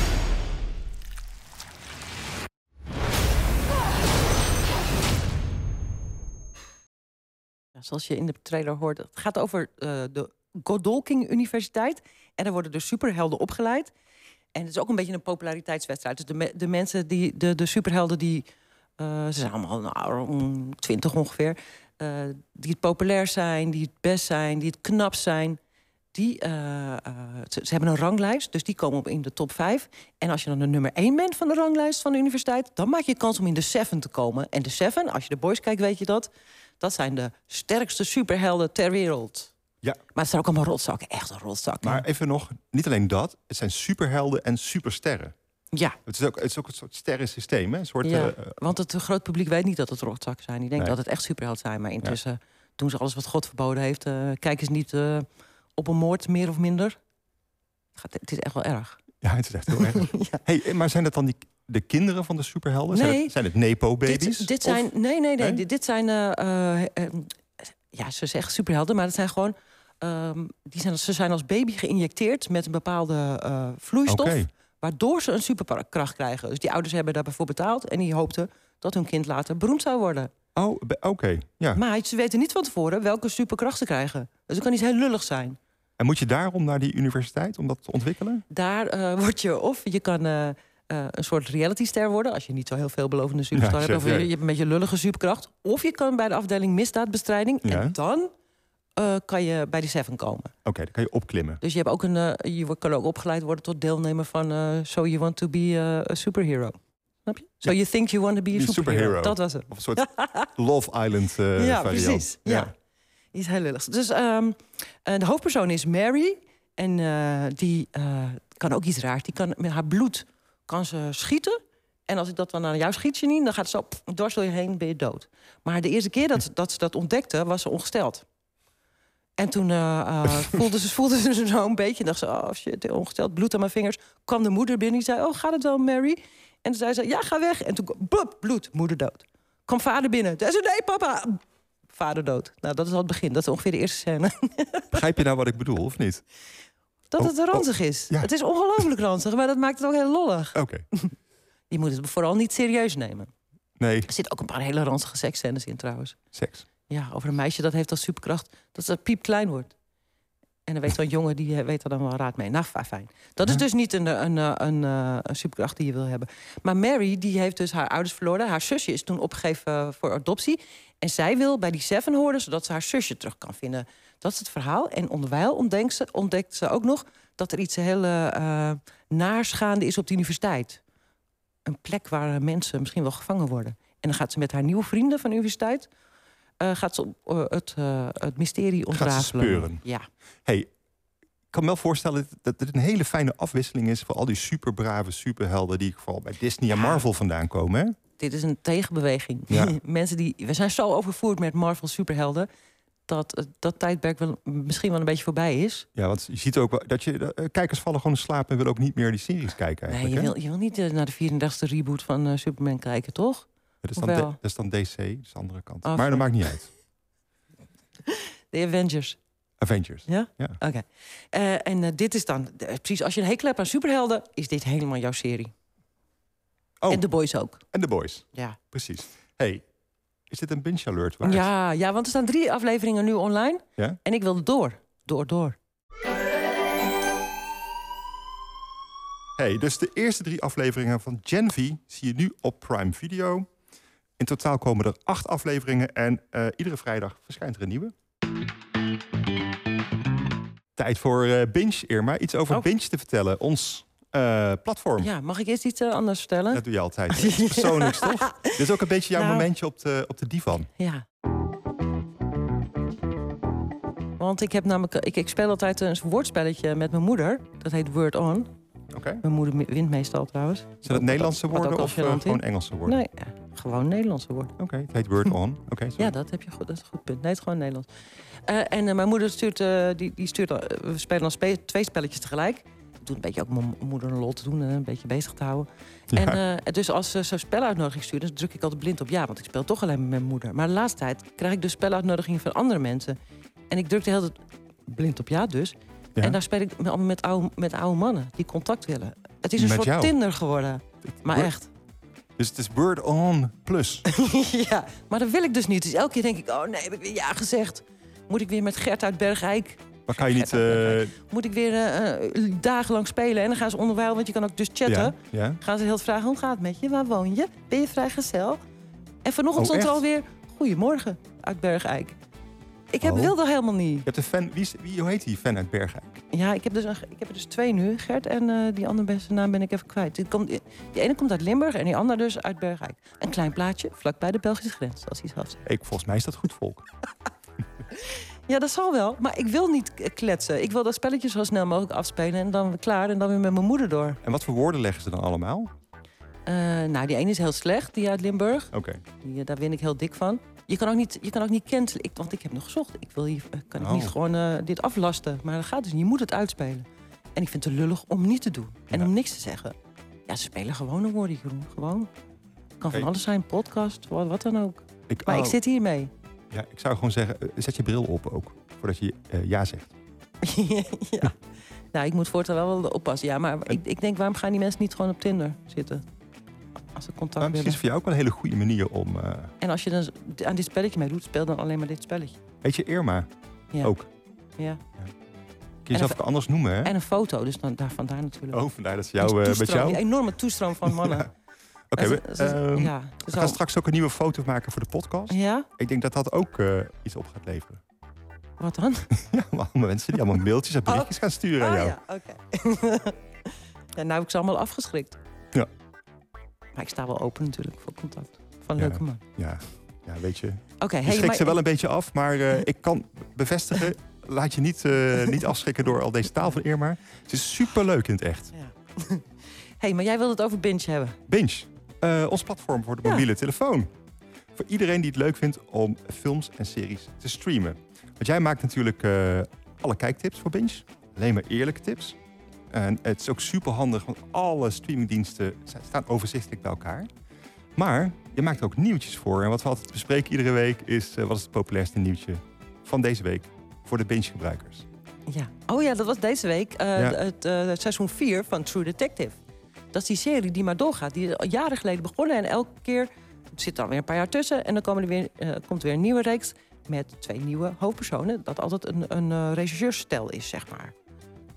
[SPEAKER 1] Ja, zoals je in de trailer hoort, het gaat over eh, de Godolking Universiteit. En daar worden dus superhelden opgeleid. En het is ook een beetje een populariteitswedstrijd. Dus de, me- de mensen, die, de, de superhelden die... eh, ze zijn allemaal nou, om 20 ongeveer. eh, die het populair zijn, die het best zijn, die het knap zijn. Die, eh, eh, ze, ze hebben een ranglijst, dus die komen op in de top 5. En als je dan de nummer 1 bent van de ranglijst van de universiteit... dan maak je kans om in de 7 te komen. En de 7, als je de boys kijkt, weet je dat... dat zijn de sterkste superhelden ter wereld.
[SPEAKER 2] Ja.
[SPEAKER 1] Maar het zijn ook allemaal rotzakken, echt een rotzak.
[SPEAKER 2] Maar even nog, niet alleen dat, het zijn superhelden en supersterren.
[SPEAKER 1] Ja,
[SPEAKER 2] Het is ook, het is ook een soort sterrensysteem, hè? Een soort,
[SPEAKER 1] ja.
[SPEAKER 2] eh, eh,
[SPEAKER 1] want het groot publiek weet niet dat het rotzakken zijn. Die denkt
[SPEAKER 2] Nee.
[SPEAKER 1] dat het echt superhelden zijn. Maar intussen doen ze alles wat God verboden heeft. Eh, kijken ze niet eh, op een moord, meer of minder. Gaat- Het is echt wel erg.
[SPEAKER 2] ja, het is echt heel erg.
[SPEAKER 1] Ja.
[SPEAKER 2] Hey, eh, maar zijn dat dan die, de kinderen van de superhelden? Zijn
[SPEAKER 1] Nee.
[SPEAKER 2] het, zijn het Nepo-baby's?
[SPEAKER 1] Dit, dit
[SPEAKER 2] Of-
[SPEAKER 1] zijn, nee, nee, nee,
[SPEAKER 2] Nee?
[SPEAKER 1] Dit, dit zijn, eh, eh, eh, ja, ze zeggen superhelden, maar dat zijn gewoon, ehm, die zijn, als- ze zijn als baby geïnjecteerd met een bepaalde eh, vloeistof,
[SPEAKER 2] Oké.
[SPEAKER 1] waardoor ze een superkracht krijgen. Dus die ouders hebben daarvoor betaald en die hoopten dat hun kind later beroemd zou worden.
[SPEAKER 2] Oh, be- oké. Ja.
[SPEAKER 1] Maar ze weten niet van tevoren welke superkracht ze krijgen. Dus het kan iets heel lullig zijn.
[SPEAKER 2] En moet je daarom naar die universiteit om dat te ontwikkelen?
[SPEAKER 1] daar eh, word je of je kan eh, eh, een soort realityster worden als je niet zo heel veelbelovende superstar
[SPEAKER 2] Ja,
[SPEAKER 1] hebt, of je,
[SPEAKER 2] ja.
[SPEAKER 1] je hebt een beetje lullige superkracht, of je kan bij de afdeling misdaadbestrijding
[SPEAKER 2] Ja.
[SPEAKER 1] en dan eh, kan je bij die Seven komen.
[SPEAKER 2] Oké, dan kan je opklimmen.
[SPEAKER 1] Dus je hebt ook een, eh, je wordt- kan ook opgeleid worden tot deelnemer van eh, So You Want to Be eh, a Superhero. Snap je? So
[SPEAKER 2] Ja.
[SPEAKER 1] You Think You Want to Be a
[SPEAKER 2] Be a
[SPEAKER 1] superhero.
[SPEAKER 2] superhero.
[SPEAKER 1] Dat was het.
[SPEAKER 2] Of een soort Love Island eh
[SPEAKER 1] ja,
[SPEAKER 2] variant.
[SPEAKER 1] precies. Ja. Iets heel lulligs. Dus ehm, eh, de hoofdpersoon is Mary. En eh, die eh, kan ook iets raars. Die kan met haar bloed kan ze schieten. En als ik dat dan aan jou schiet, Janine, dan gaat ze zo pff, dwars door je heen, ben je dood. Maar de eerste keer dat, dat ze dat ontdekte, was ze ongesteld. En toen eh, eh, voelde, ze, voelde ze zo een beetje. dacht ze, oh shit, ongesteld, bloed aan mijn vingers. Kwam de moeder binnen, die zei, oh, gaat het wel, Mary? En toen zei ze, ja, ga weg. En toen, kwam- blop, bloed, moeder dood. Kwam vader binnen. Toen zei ze, nee, papa. Vader dood. Nou, dat is al het begin. Dat is ongeveer de eerste scène.
[SPEAKER 2] Begrijp je nou wat ik bedoel, of niet?
[SPEAKER 1] Dat
[SPEAKER 2] Oh,
[SPEAKER 1] het ranzig is.
[SPEAKER 2] ja.
[SPEAKER 1] Het is ongelooflijk ranzig, maar dat maakt het ook heel lollig.
[SPEAKER 2] Oké.
[SPEAKER 1] Je moet het vooral niet serieus nemen.
[SPEAKER 2] Nee,
[SPEAKER 1] Er zitten ook een paar hele ranzige seksscènes in trouwens.
[SPEAKER 2] seks.
[SPEAKER 1] Ja, over een meisje dat heeft als superkracht dat ze piep klein wordt. En dan weet zo'n jongen, die eh, weet er dan wel raad mee. Nou, fa- fijn. Dat is dus niet een, eh, een, eh, een, eh, een superkracht die je wil hebben. Maar Mary, die heeft dus haar ouders verloren. Haar zusje is toen opgegeven eh, voor adoptie. En zij wil bij die Seven horen, zodat ze haar zusje terug kan vinden. Dat is het verhaal. En onderwijl ontdekt ze, ontdekt ze ook nog dat er iets heel eh, eh, naars gaande is op de universiteit. Een plek waar eh, mensen misschien wel gevangen worden. En dan gaat ze met haar nieuwe vrienden van de universiteit... eh, gaat ze op, eh, het, eh, het mysterie ontrafelen.
[SPEAKER 2] speuren.
[SPEAKER 1] Ja.
[SPEAKER 2] Hey, ik kan me wel voorstellen dat dit een hele fijne afwisseling is... voor al die superbrave superhelden die vooral bij Disney en Marvel vandaan komen. Hè?
[SPEAKER 1] dit is een tegenbeweging.
[SPEAKER 2] Ja.
[SPEAKER 1] Mensen die, we zijn zo overvoerd met Marvel superhelden dat eh, dat tijdperk wel, misschien wel een beetje voorbij is.
[SPEAKER 2] Ja, want je ziet ook wel dat je eh, kijkers vallen gewoon in slaap en willen ook niet meer die series kijken.
[SPEAKER 1] Nee,
[SPEAKER 2] Eigenlijk,
[SPEAKER 1] je
[SPEAKER 2] hè?
[SPEAKER 1] wil, je wil niet eh, naar de 34e reboot van eh, Superman kijken, toch?
[SPEAKER 2] Dat is,
[SPEAKER 1] Of
[SPEAKER 2] dan D-
[SPEAKER 1] wel?
[SPEAKER 2] dat is dan DC, dat is de andere kant.
[SPEAKER 1] Oh,
[SPEAKER 2] maar dat
[SPEAKER 1] oké.
[SPEAKER 2] maakt niet uit.
[SPEAKER 1] De Avengers.
[SPEAKER 2] Avengers.
[SPEAKER 1] Ja?
[SPEAKER 2] Ja.
[SPEAKER 1] Oké. Eh, en eh, dit is dan, eh, precies, als je een hekel hebt aan superhelden, is dit helemaal jouw serie.
[SPEAKER 2] Oh.
[SPEAKER 1] En The Boys ook.
[SPEAKER 2] En The Boys,
[SPEAKER 1] Ja.
[SPEAKER 2] precies. hey, is dit een binge alert waard?
[SPEAKER 1] Ja, ja, want er staan drie afleveringen nu online.
[SPEAKER 2] Ja?
[SPEAKER 1] En ik wilde door. Door, door.
[SPEAKER 2] Hey, dus de eerste drie afleveringen van Gen V zie je nu op Prime Video. In totaal komen er acht afleveringen en eh, iedere vrijdag verschijnt er een nieuwe. Tijd voor eh, Binge, Irma. Iets over
[SPEAKER 1] Oh.
[SPEAKER 2] Binge te vertellen. Ons eh, platform.
[SPEAKER 1] Ja, mag ik eerst iets eh, anders vertellen?
[SPEAKER 2] Dat doe je altijd. hè? Iets persoonlijks, toch? Dit is ook een beetje jouw
[SPEAKER 1] Nou.
[SPEAKER 2] momentje op de, op de divan.
[SPEAKER 1] Ja. Want ik heb namelijk, ik, ik speel altijd een woordspelletje met mijn moeder. Dat heet Word On.
[SPEAKER 2] Oké.
[SPEAKER 1] Mijn moeder me- wint meestal trouwens.
[SPEAKER 2] Zijn dat Nederlandse
[SPEAKER 1] wat ook
[SPEAKER 2] woorden
[SPEAKER 1] al
[SPEAKER 2] of eh,
[SPEAKER 1] gênant
[SPEAKER 2] gewoon
[SPEAKER 1] is.
[SPEAKER 2] Engelse woorden?
[SPEAKER 1] Nee, ja, gewoon Nederlandse woorden.
[SPEAKER 2] Oké, het heet Word On. Oké, sorry.
[SPEAKER 1] Ja, dat heb je goed. Dat is een goed punt. Nee, het is gewoon Nederlands. Eh, en eh, mijn moeder stuurt, eh, die, die stuurt, al- eh, we spelen dan spe- twee spelletjes tegelijk. Ik doe een beetje ook mijn moeder een lol te doen en een beetje bezig te houden. En eh, dus als ze zo'n speluitnodiging stuurt, dan druk ik altijd blind op ja, want ik speel toch alleen met mijn moeder. Maar de laatste tijd krijg ik dus speluitnodigingen van andere mensen. En ik druk de hele tijd blind op ja dus.
[SPEAKER 2] Ja.
[SPEAKER 1] En daar speel ik met, met, oude, met oude mannen die contact willen. Het is een
[SPEAKER 2] Met
[SPEAKER 1] soort
[SPEAKER 2] jou?
[SPEAKER 1] Tinder geworden. Maar
[SPEAKER 2] Word-
[SPEAKER 1] echt.
[SPEAKER 2] Dus het is Word On Plus.
[SPEAKER 1] ja, maar dat wil ik dus niet. Dus elke keer denk ik, oh nee, heb ik weer ja gezegd. Moet ik weer met Gert uit Bergijk?
[SPEAKER 2] Maar kan je niet... eh,
[SPEAKER 1] Moet ik weer eh, eh, dagenlang spelen? En dan gaan ze onderwijl, want je kan ook dus chatten.
[SPEAKER 2] ja, ja.
[SPEAKER 1] Gaan ze heel het vragen, hoe gaat het met je? Waar woon je? Ben je vrijgezel? En
[SPEAKER 2] Oh,
[SPEAKER 1] vanochtend stond er
[SPEAKER 2] echt?
[SPEAKER 1] alweer, goedemorgen uit Bergijk. Ik heb,
[SPEAKER 2] Oh.
[SPEAKER 1] wil dat helemaal niet.
[SPEAKER 2] Je hebt een fan... Wie, is- wie, hoe heet die fan uit Bergijk?
[SPEAKER 1] Ja, ik heb, dus een, ik heb er dus twee nu, Gert. En eh, die andere beste naam ben ik even kwijt. Die, komt, die ene komt uit Limburg en die andere dus uit Bergijk. Een klein plaatje, vlakbij de Belgische grens, als hij zelf zegt.
[SPEAKER 2] Ik, volgens mij is dat goed volk.
[SPEAKER 1] Ja, dat zal wel. Maar ik wil niet k- eh, kletsen. Ik wil dat spelletje zo snel mogelijk afspelen. En dan weer klaar. En dan weer met mijn moeder door.
[SPEAKER 2] En wat voor woorden leggen ze dan allemaal? Oké.
[SPEAKER 1] Eh, nou, die ene is heel slecht. Die uit Limburg. Die, eh, daar win ik heel dik van. Je kan ook niet, je kan ook niet cancelen. Ik, want ik heb nog gezocht. Ik wil hier, eh, kan ik
[SPEAKER 2] Oh.
[SPEAKER 1] niet gewoon eh, dit aflasten. Maar dat gaat dus niet. Je moet het uitspelen. En ik vind het lullig om niet te doen. En
[SPEAKER 2] Ja.
[SPEAKER 1] om niks te zeggen. Ja, ze spelen gewone woorden, Jeroen. Gewoon. Kan van
[SPEAKER 2] Oké.
[SPEAKER 1] alles zijn. Podcast, wat, wat dan ook.
[SPEAKER 2] Ik,
[SPEAKER 1] Maar
[SPEAKER 2] oh,
[SPEAKER 1] ik zit hiermee.
[SPEAKER 2] ja, ik zou gewoon zeggen, eh, zet je bril op ook. Voordat je eh, ja zegt.
[SPEAKER 1] ja. Nou, ik moet voortaan wel wel oppassen. Ja, maar ik, ik denk, waarom gaan die mensen niet gewoon op Tinder zitten? Als ze
[SPEAKER 2] Maar
[SPEAKER 1] contact
[SPEAKER 2] misschien
[SPEAKER 1] willen.
[SPEAKER 2] is het voor jou ook wel een hele goede manier om... eh,
[SPEAKER 1] En als je dan z- aan dit spelletje meedoet, speel dan alleen maar dit spelletje.
[SPEAKER 2] Weet je, Irma
[SPEAKER 1] Ja.
[SPEAKER 2] ook. Kun
[SPEAKER 1] Ja.
[SPEAKER 2] je jezelf
[SPEAKER 1] een-
[SPEAKER 2] ook anders noemen, hè?
[SPEAKER 1] En een foto, dus dan, daar vandaar natuurlijk.
[SPEAKER 2] Oh, vandaar dat ze
[SPEAKER 1] Die
[SPEAKER 2] jou eh, met
[SPEAKER 1] toestroom,
[SPEAKER 2] jou...
[SPEAKER 1] Die enorme toestroom van mannen.
[SPEAKER 2] Ja. Oké,
[SPEAKER 1] En eh,
[SPEAKER 2] we,
[SPEAKER 1] ze- ze-
[SPEAKER 2] ehm,
[SPEAKER 1] ja,
[SPEAKER 2] we
[SPEAKER 1] zo.
[SPEAKER 2] gaan straks ook een nieuwe foto maken voor de podcast.
[SPEAKER 1] Ja?
[SPEAKER 2] Ik denk dat dat ook eh, iets op gaat leveren.
[SPEAKER 1] Wat dan?
[SPEAKER 2] Ja, maar allemaal mensen die allemaal mailtjes en berichtjes gaan sturen aan
[SPEAKER 1] Ah
[SPEAKER 2] jou.
[SPEAKER 1] ja, oké. ja, nou heb ik ze allemaal afgeschrikt.
[SPEAKER 2] Ja.
[SPEAKER 1] Maar ik sta wel open natuurlijk voor contact. Van
[SPEAKER 2] Ja.
[SPEAKER 1] leuke man.
[SPEAKER 2] Ja, ja weet je.
[SPEAKER 1] Oké,
[SPEAKER 2] Je
[SPEAKER 1] hey,
[SPEAKER 2] schrikt
[SPEAKER 1] maar-
[SPEAKER 2] ze wel een beetje af, maar eh, ik kan bevestigen... Laat je niet, eh, niet afschrikken door al deze taal van Irma. Het is superleuk in het echt.
[SPEAKER 1] Ja. hey, maar jij wilde het over binge hebben.
[SPEAKER 2] Binge, eh, ons platform voor de
[SPEAKER 1] Ja.
[SPEAKER 2] mobiele telefoon. Voor iedereen die het leuk vindt om films en series te streamen. Want jij maakt natuurlijk eh, alle kijktips voor Binge. Alleen maar eerlijke tips. En het is ook super handig, want alle streamingdiensten sta- staan overzichtelijk bij elkaar. Maar je maakt er ook nieuwtjes voor. En wat we altijd bespreken iedere week is eh, wat is het populairste nieuwtje van deze week voor de Binge-gebruikers.
[SPEAKER 1] Ja. Oh ja, dat was deze week eh,
[SPEAKER 2] Ja.
[SPEAKER 1] het, eh, het seizoen 4 van True Detective. Dat is die serie die maar doorgaat. Die is al jaren geleden begonnen en elke keer er zit dan weer een paar jaar tussen. En dan komen er weer, eh, komt er weer een nieuwe reeks. met twee nieuwe hoofdpersonen. Dat altijd een, een eh, regisseursstel is, zeg maar.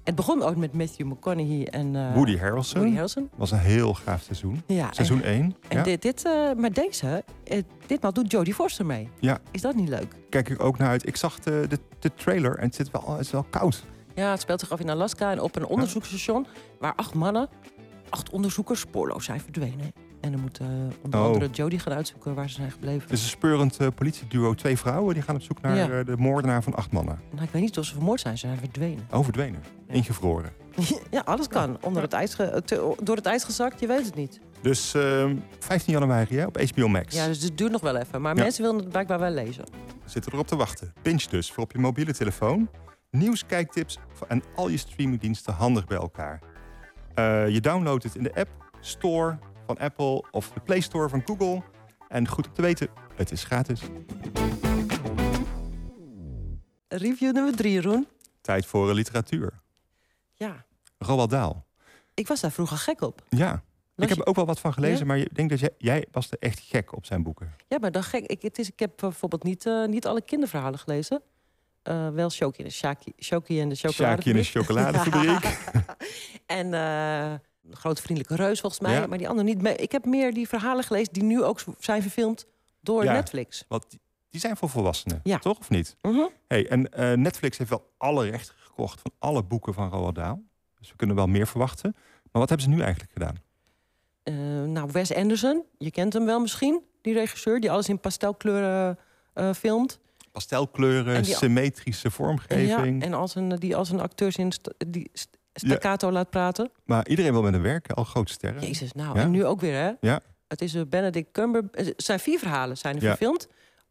[SPEAKER 1] Het begon ooit met Matthew McConaughey en eh,
[SPEAKER 2] Woody Harrelson.
[SPEAKER 1] Woody Harrelson.
[SPEAKER 2] was een heel gaaf seizoen.
[SPEAKER 1] Ja,
[SPEAKER 2] seizoen 1.
[SPEAKER 1] En
[SPEAKER 2] ja.
[SPEAKER 1] dit, dit, eh, maar deze, eh, ditmaal doet Jodie Forster mee.
[SPEAKER 2] ja,
[SPEAKER 1] Is dat niet leuk?
[SPEAKER 2] kijk ik ook naar uit. Ik zag de, de, de trailer en het, zit wel, het is wel koud.
[SPEAKER 1] Ja, het speelt zich af in Alaska en op een onderzoeksstation... waar acht mannen, acht onderzoekers, spoorloos zijn verdwenen. En dan moet eh, onder
[SPEAKER 2] Oh.
[SPEAKER 1] andere Jodie gaan uitzoeken waar ze zijn gebleven.
[SPEAKER 2] Het is een speurend eh, politieduo. Twee vrouwen die gaan op zoek naar
[SPEAKER 1] Ja.
[SPEAKER 2] eh, de moordenaar van acht mannen.
[SPEAKER 1] Nou, ik weet niet of ze vermoord zijn, ze zijn verdwenen.
[SPEAKER 2] Overdwenen. Ingevroren.
[SPEAKER 1] ja, alles kan. Onder het ijs ge- eh, te- door het ijs gezakt, je weet het niet.
[SPEAKER 2] Dus ehm, 15 januari hè, op HBO Max.
[SPEAKER 1] Ja, dus het duurt nog wel even. Maar
[SPEAKER 2] Ja.
[SPEAKER 1] mensen willen het blijkbaar wel lezen.
[SPEAKER 2] Zitten erop te wachten. Pinch dus voor op je mobiele telefoon. Nieuws, kijktips voor- en al je streamingdiensten handig bij elkaar. Eh, je downloadt het in de app Store van Apple of de Play Store van Google. En goed om te weten, het is gratis.
[SPEAKER 1] Review nummer drie, Roen.
[SPEAKER 2] Tijd voor eh, literatuur.
[SPEAKER 1] Ja,
[SPEAKER 2] Roald Dahl.
[SPEAKER 1] ik was daar vroeger gek op.
[SPEAKER 2] Ja. Ik
[SPEAKER 1] Las
[SPEAKER 2] heb
[SPEAKER 1] je-
[SPEAKER 2] er ook wel wat van gelezen,
[SPEAKER 1] Ja?
[SPEAKER 2] maar ik denk dat jij, jij was er echt gek op zijn boeken.
[SPEAKER 1] Ja, maar dan gek. Ik, het is, ik heb eh, bijvoorbeeld niet, eh, niet alle kinderverhalen gelezen. Eh, wel Shoki en de Shaki, Shoki en de chocoladefabriek.
[SPEAKER 2] Sjaakje in de chocoladefabriek.
[SPEAKER 1] en eh, de grote vriendelijke reus volgens mij.
[SPEAKER 2] Ja.
[SPEAKER 1] Maar die andere niet. Maar Ik heb meer die verhalen gelezen die nu ook zijn verfilmd door
[SPEAKER 2] Ja.
[SPEAKER 1] Netflix.
[SPEAKER 2] Want die- die zijn voor volwassenen,
[SPEAKER 1] Ja.
[SPEAKER 2] toch of niet?
[SPEAKER 1] Mhm.
[SPEAKER 2] Hey, en eh, Netflix heeft wel alle rechten gekocht van alle boeken van Roald Dahl. Dus we kunnen wel meer verwachten. Maar wat hebben ze nu eigenlijk gedaan?
[SPEAKER 1] Eh, nou, Wes Anderson, je kent hem wel misschien, die regisseur die alles in pastelkleuren eh, filmt.
[SPEAKER 2] Pastelkleuren,
[SPEAKER 1] En die-
[SPEAKER 2] symmetrische
[SPEAKER 1] En, ja,
[SPEAKER 2] vormgeving.
[SPEAKER 1] en als een, die als een acteur in st- die st- staccato laat praten.
[SPEAKER 2] Maar iedereen wil met hem werken, al grote sterren.
[SPEAKER 1] Jezus, nou,
[SPEAKER 2] Ja.
[SPEAKER 1] en nu ook weer, hè?
[SPEAKER 2] Ja.
[SPEAKER 1] Het is eh, Benedict Cumber. Het zijn vier verhalen zijn er
[SPEAKER 2] Ja.
[SPEAKER 1] verfilmd.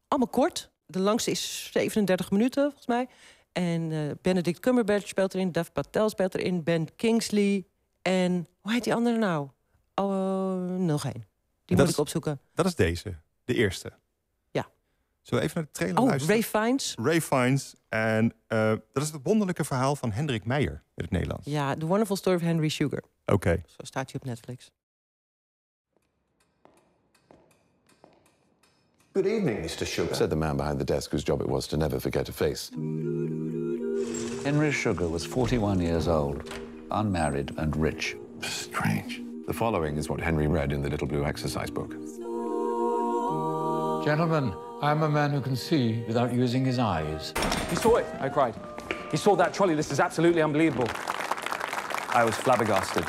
[SPEAKER 1] Allemaal kort. De langste is 37 minuten, volgens mij. En eh, Benedict Cumberbatch speelt erin. Dev Patel speelt erin. Ben Kingsley. En hoe heet die andere nou? Oh, eh, nog één. Die
[SPEAKER 2] Dat
[SPEAKER 1] moet
[SPEAKER 2] is-
[SPEAKER 1] ik opzoeken.
[SPEAKER 2] Dat is deze, de eerste.
[SPEAKER 1] Ja.
[SPEAKER 2] Zullen we even naar de trailer
[SPEAKER 1] Oh,
[SPEAKER 2] luisteren?
[SPEAKER 1] Ray Fiennes.
[SPEAKER 2] Ray Fiennes. En eh, dat is het wonderlijke verhaal van Hendrik Meijer in het Nederlands.
[SPEAKER 1] Ja, The Wonderful Story of Henry Sugar.
[SPEAKER 2] Oké.
[SPEAKER 1] Zo staat hij op Netflix.
[SPEAKER 12] Good evening, Mr. Sugar, said the man behind the desk whose job it was to never forget a face.
[SPEAKER 13] Henry Sugar was 41 years old, unmarried and rich. Strange.
[SPEAKER 12] The following is what Henry read in the little blue exercise book.
[SPEAKER 14] Gentlemen, I'm a man who can see without using his eyes.
[SPEAKER 15] He saw it, I cried. He saw that trolley. This is absolutely unbelievable.
[SPEAKER 12] I was flabbergasted.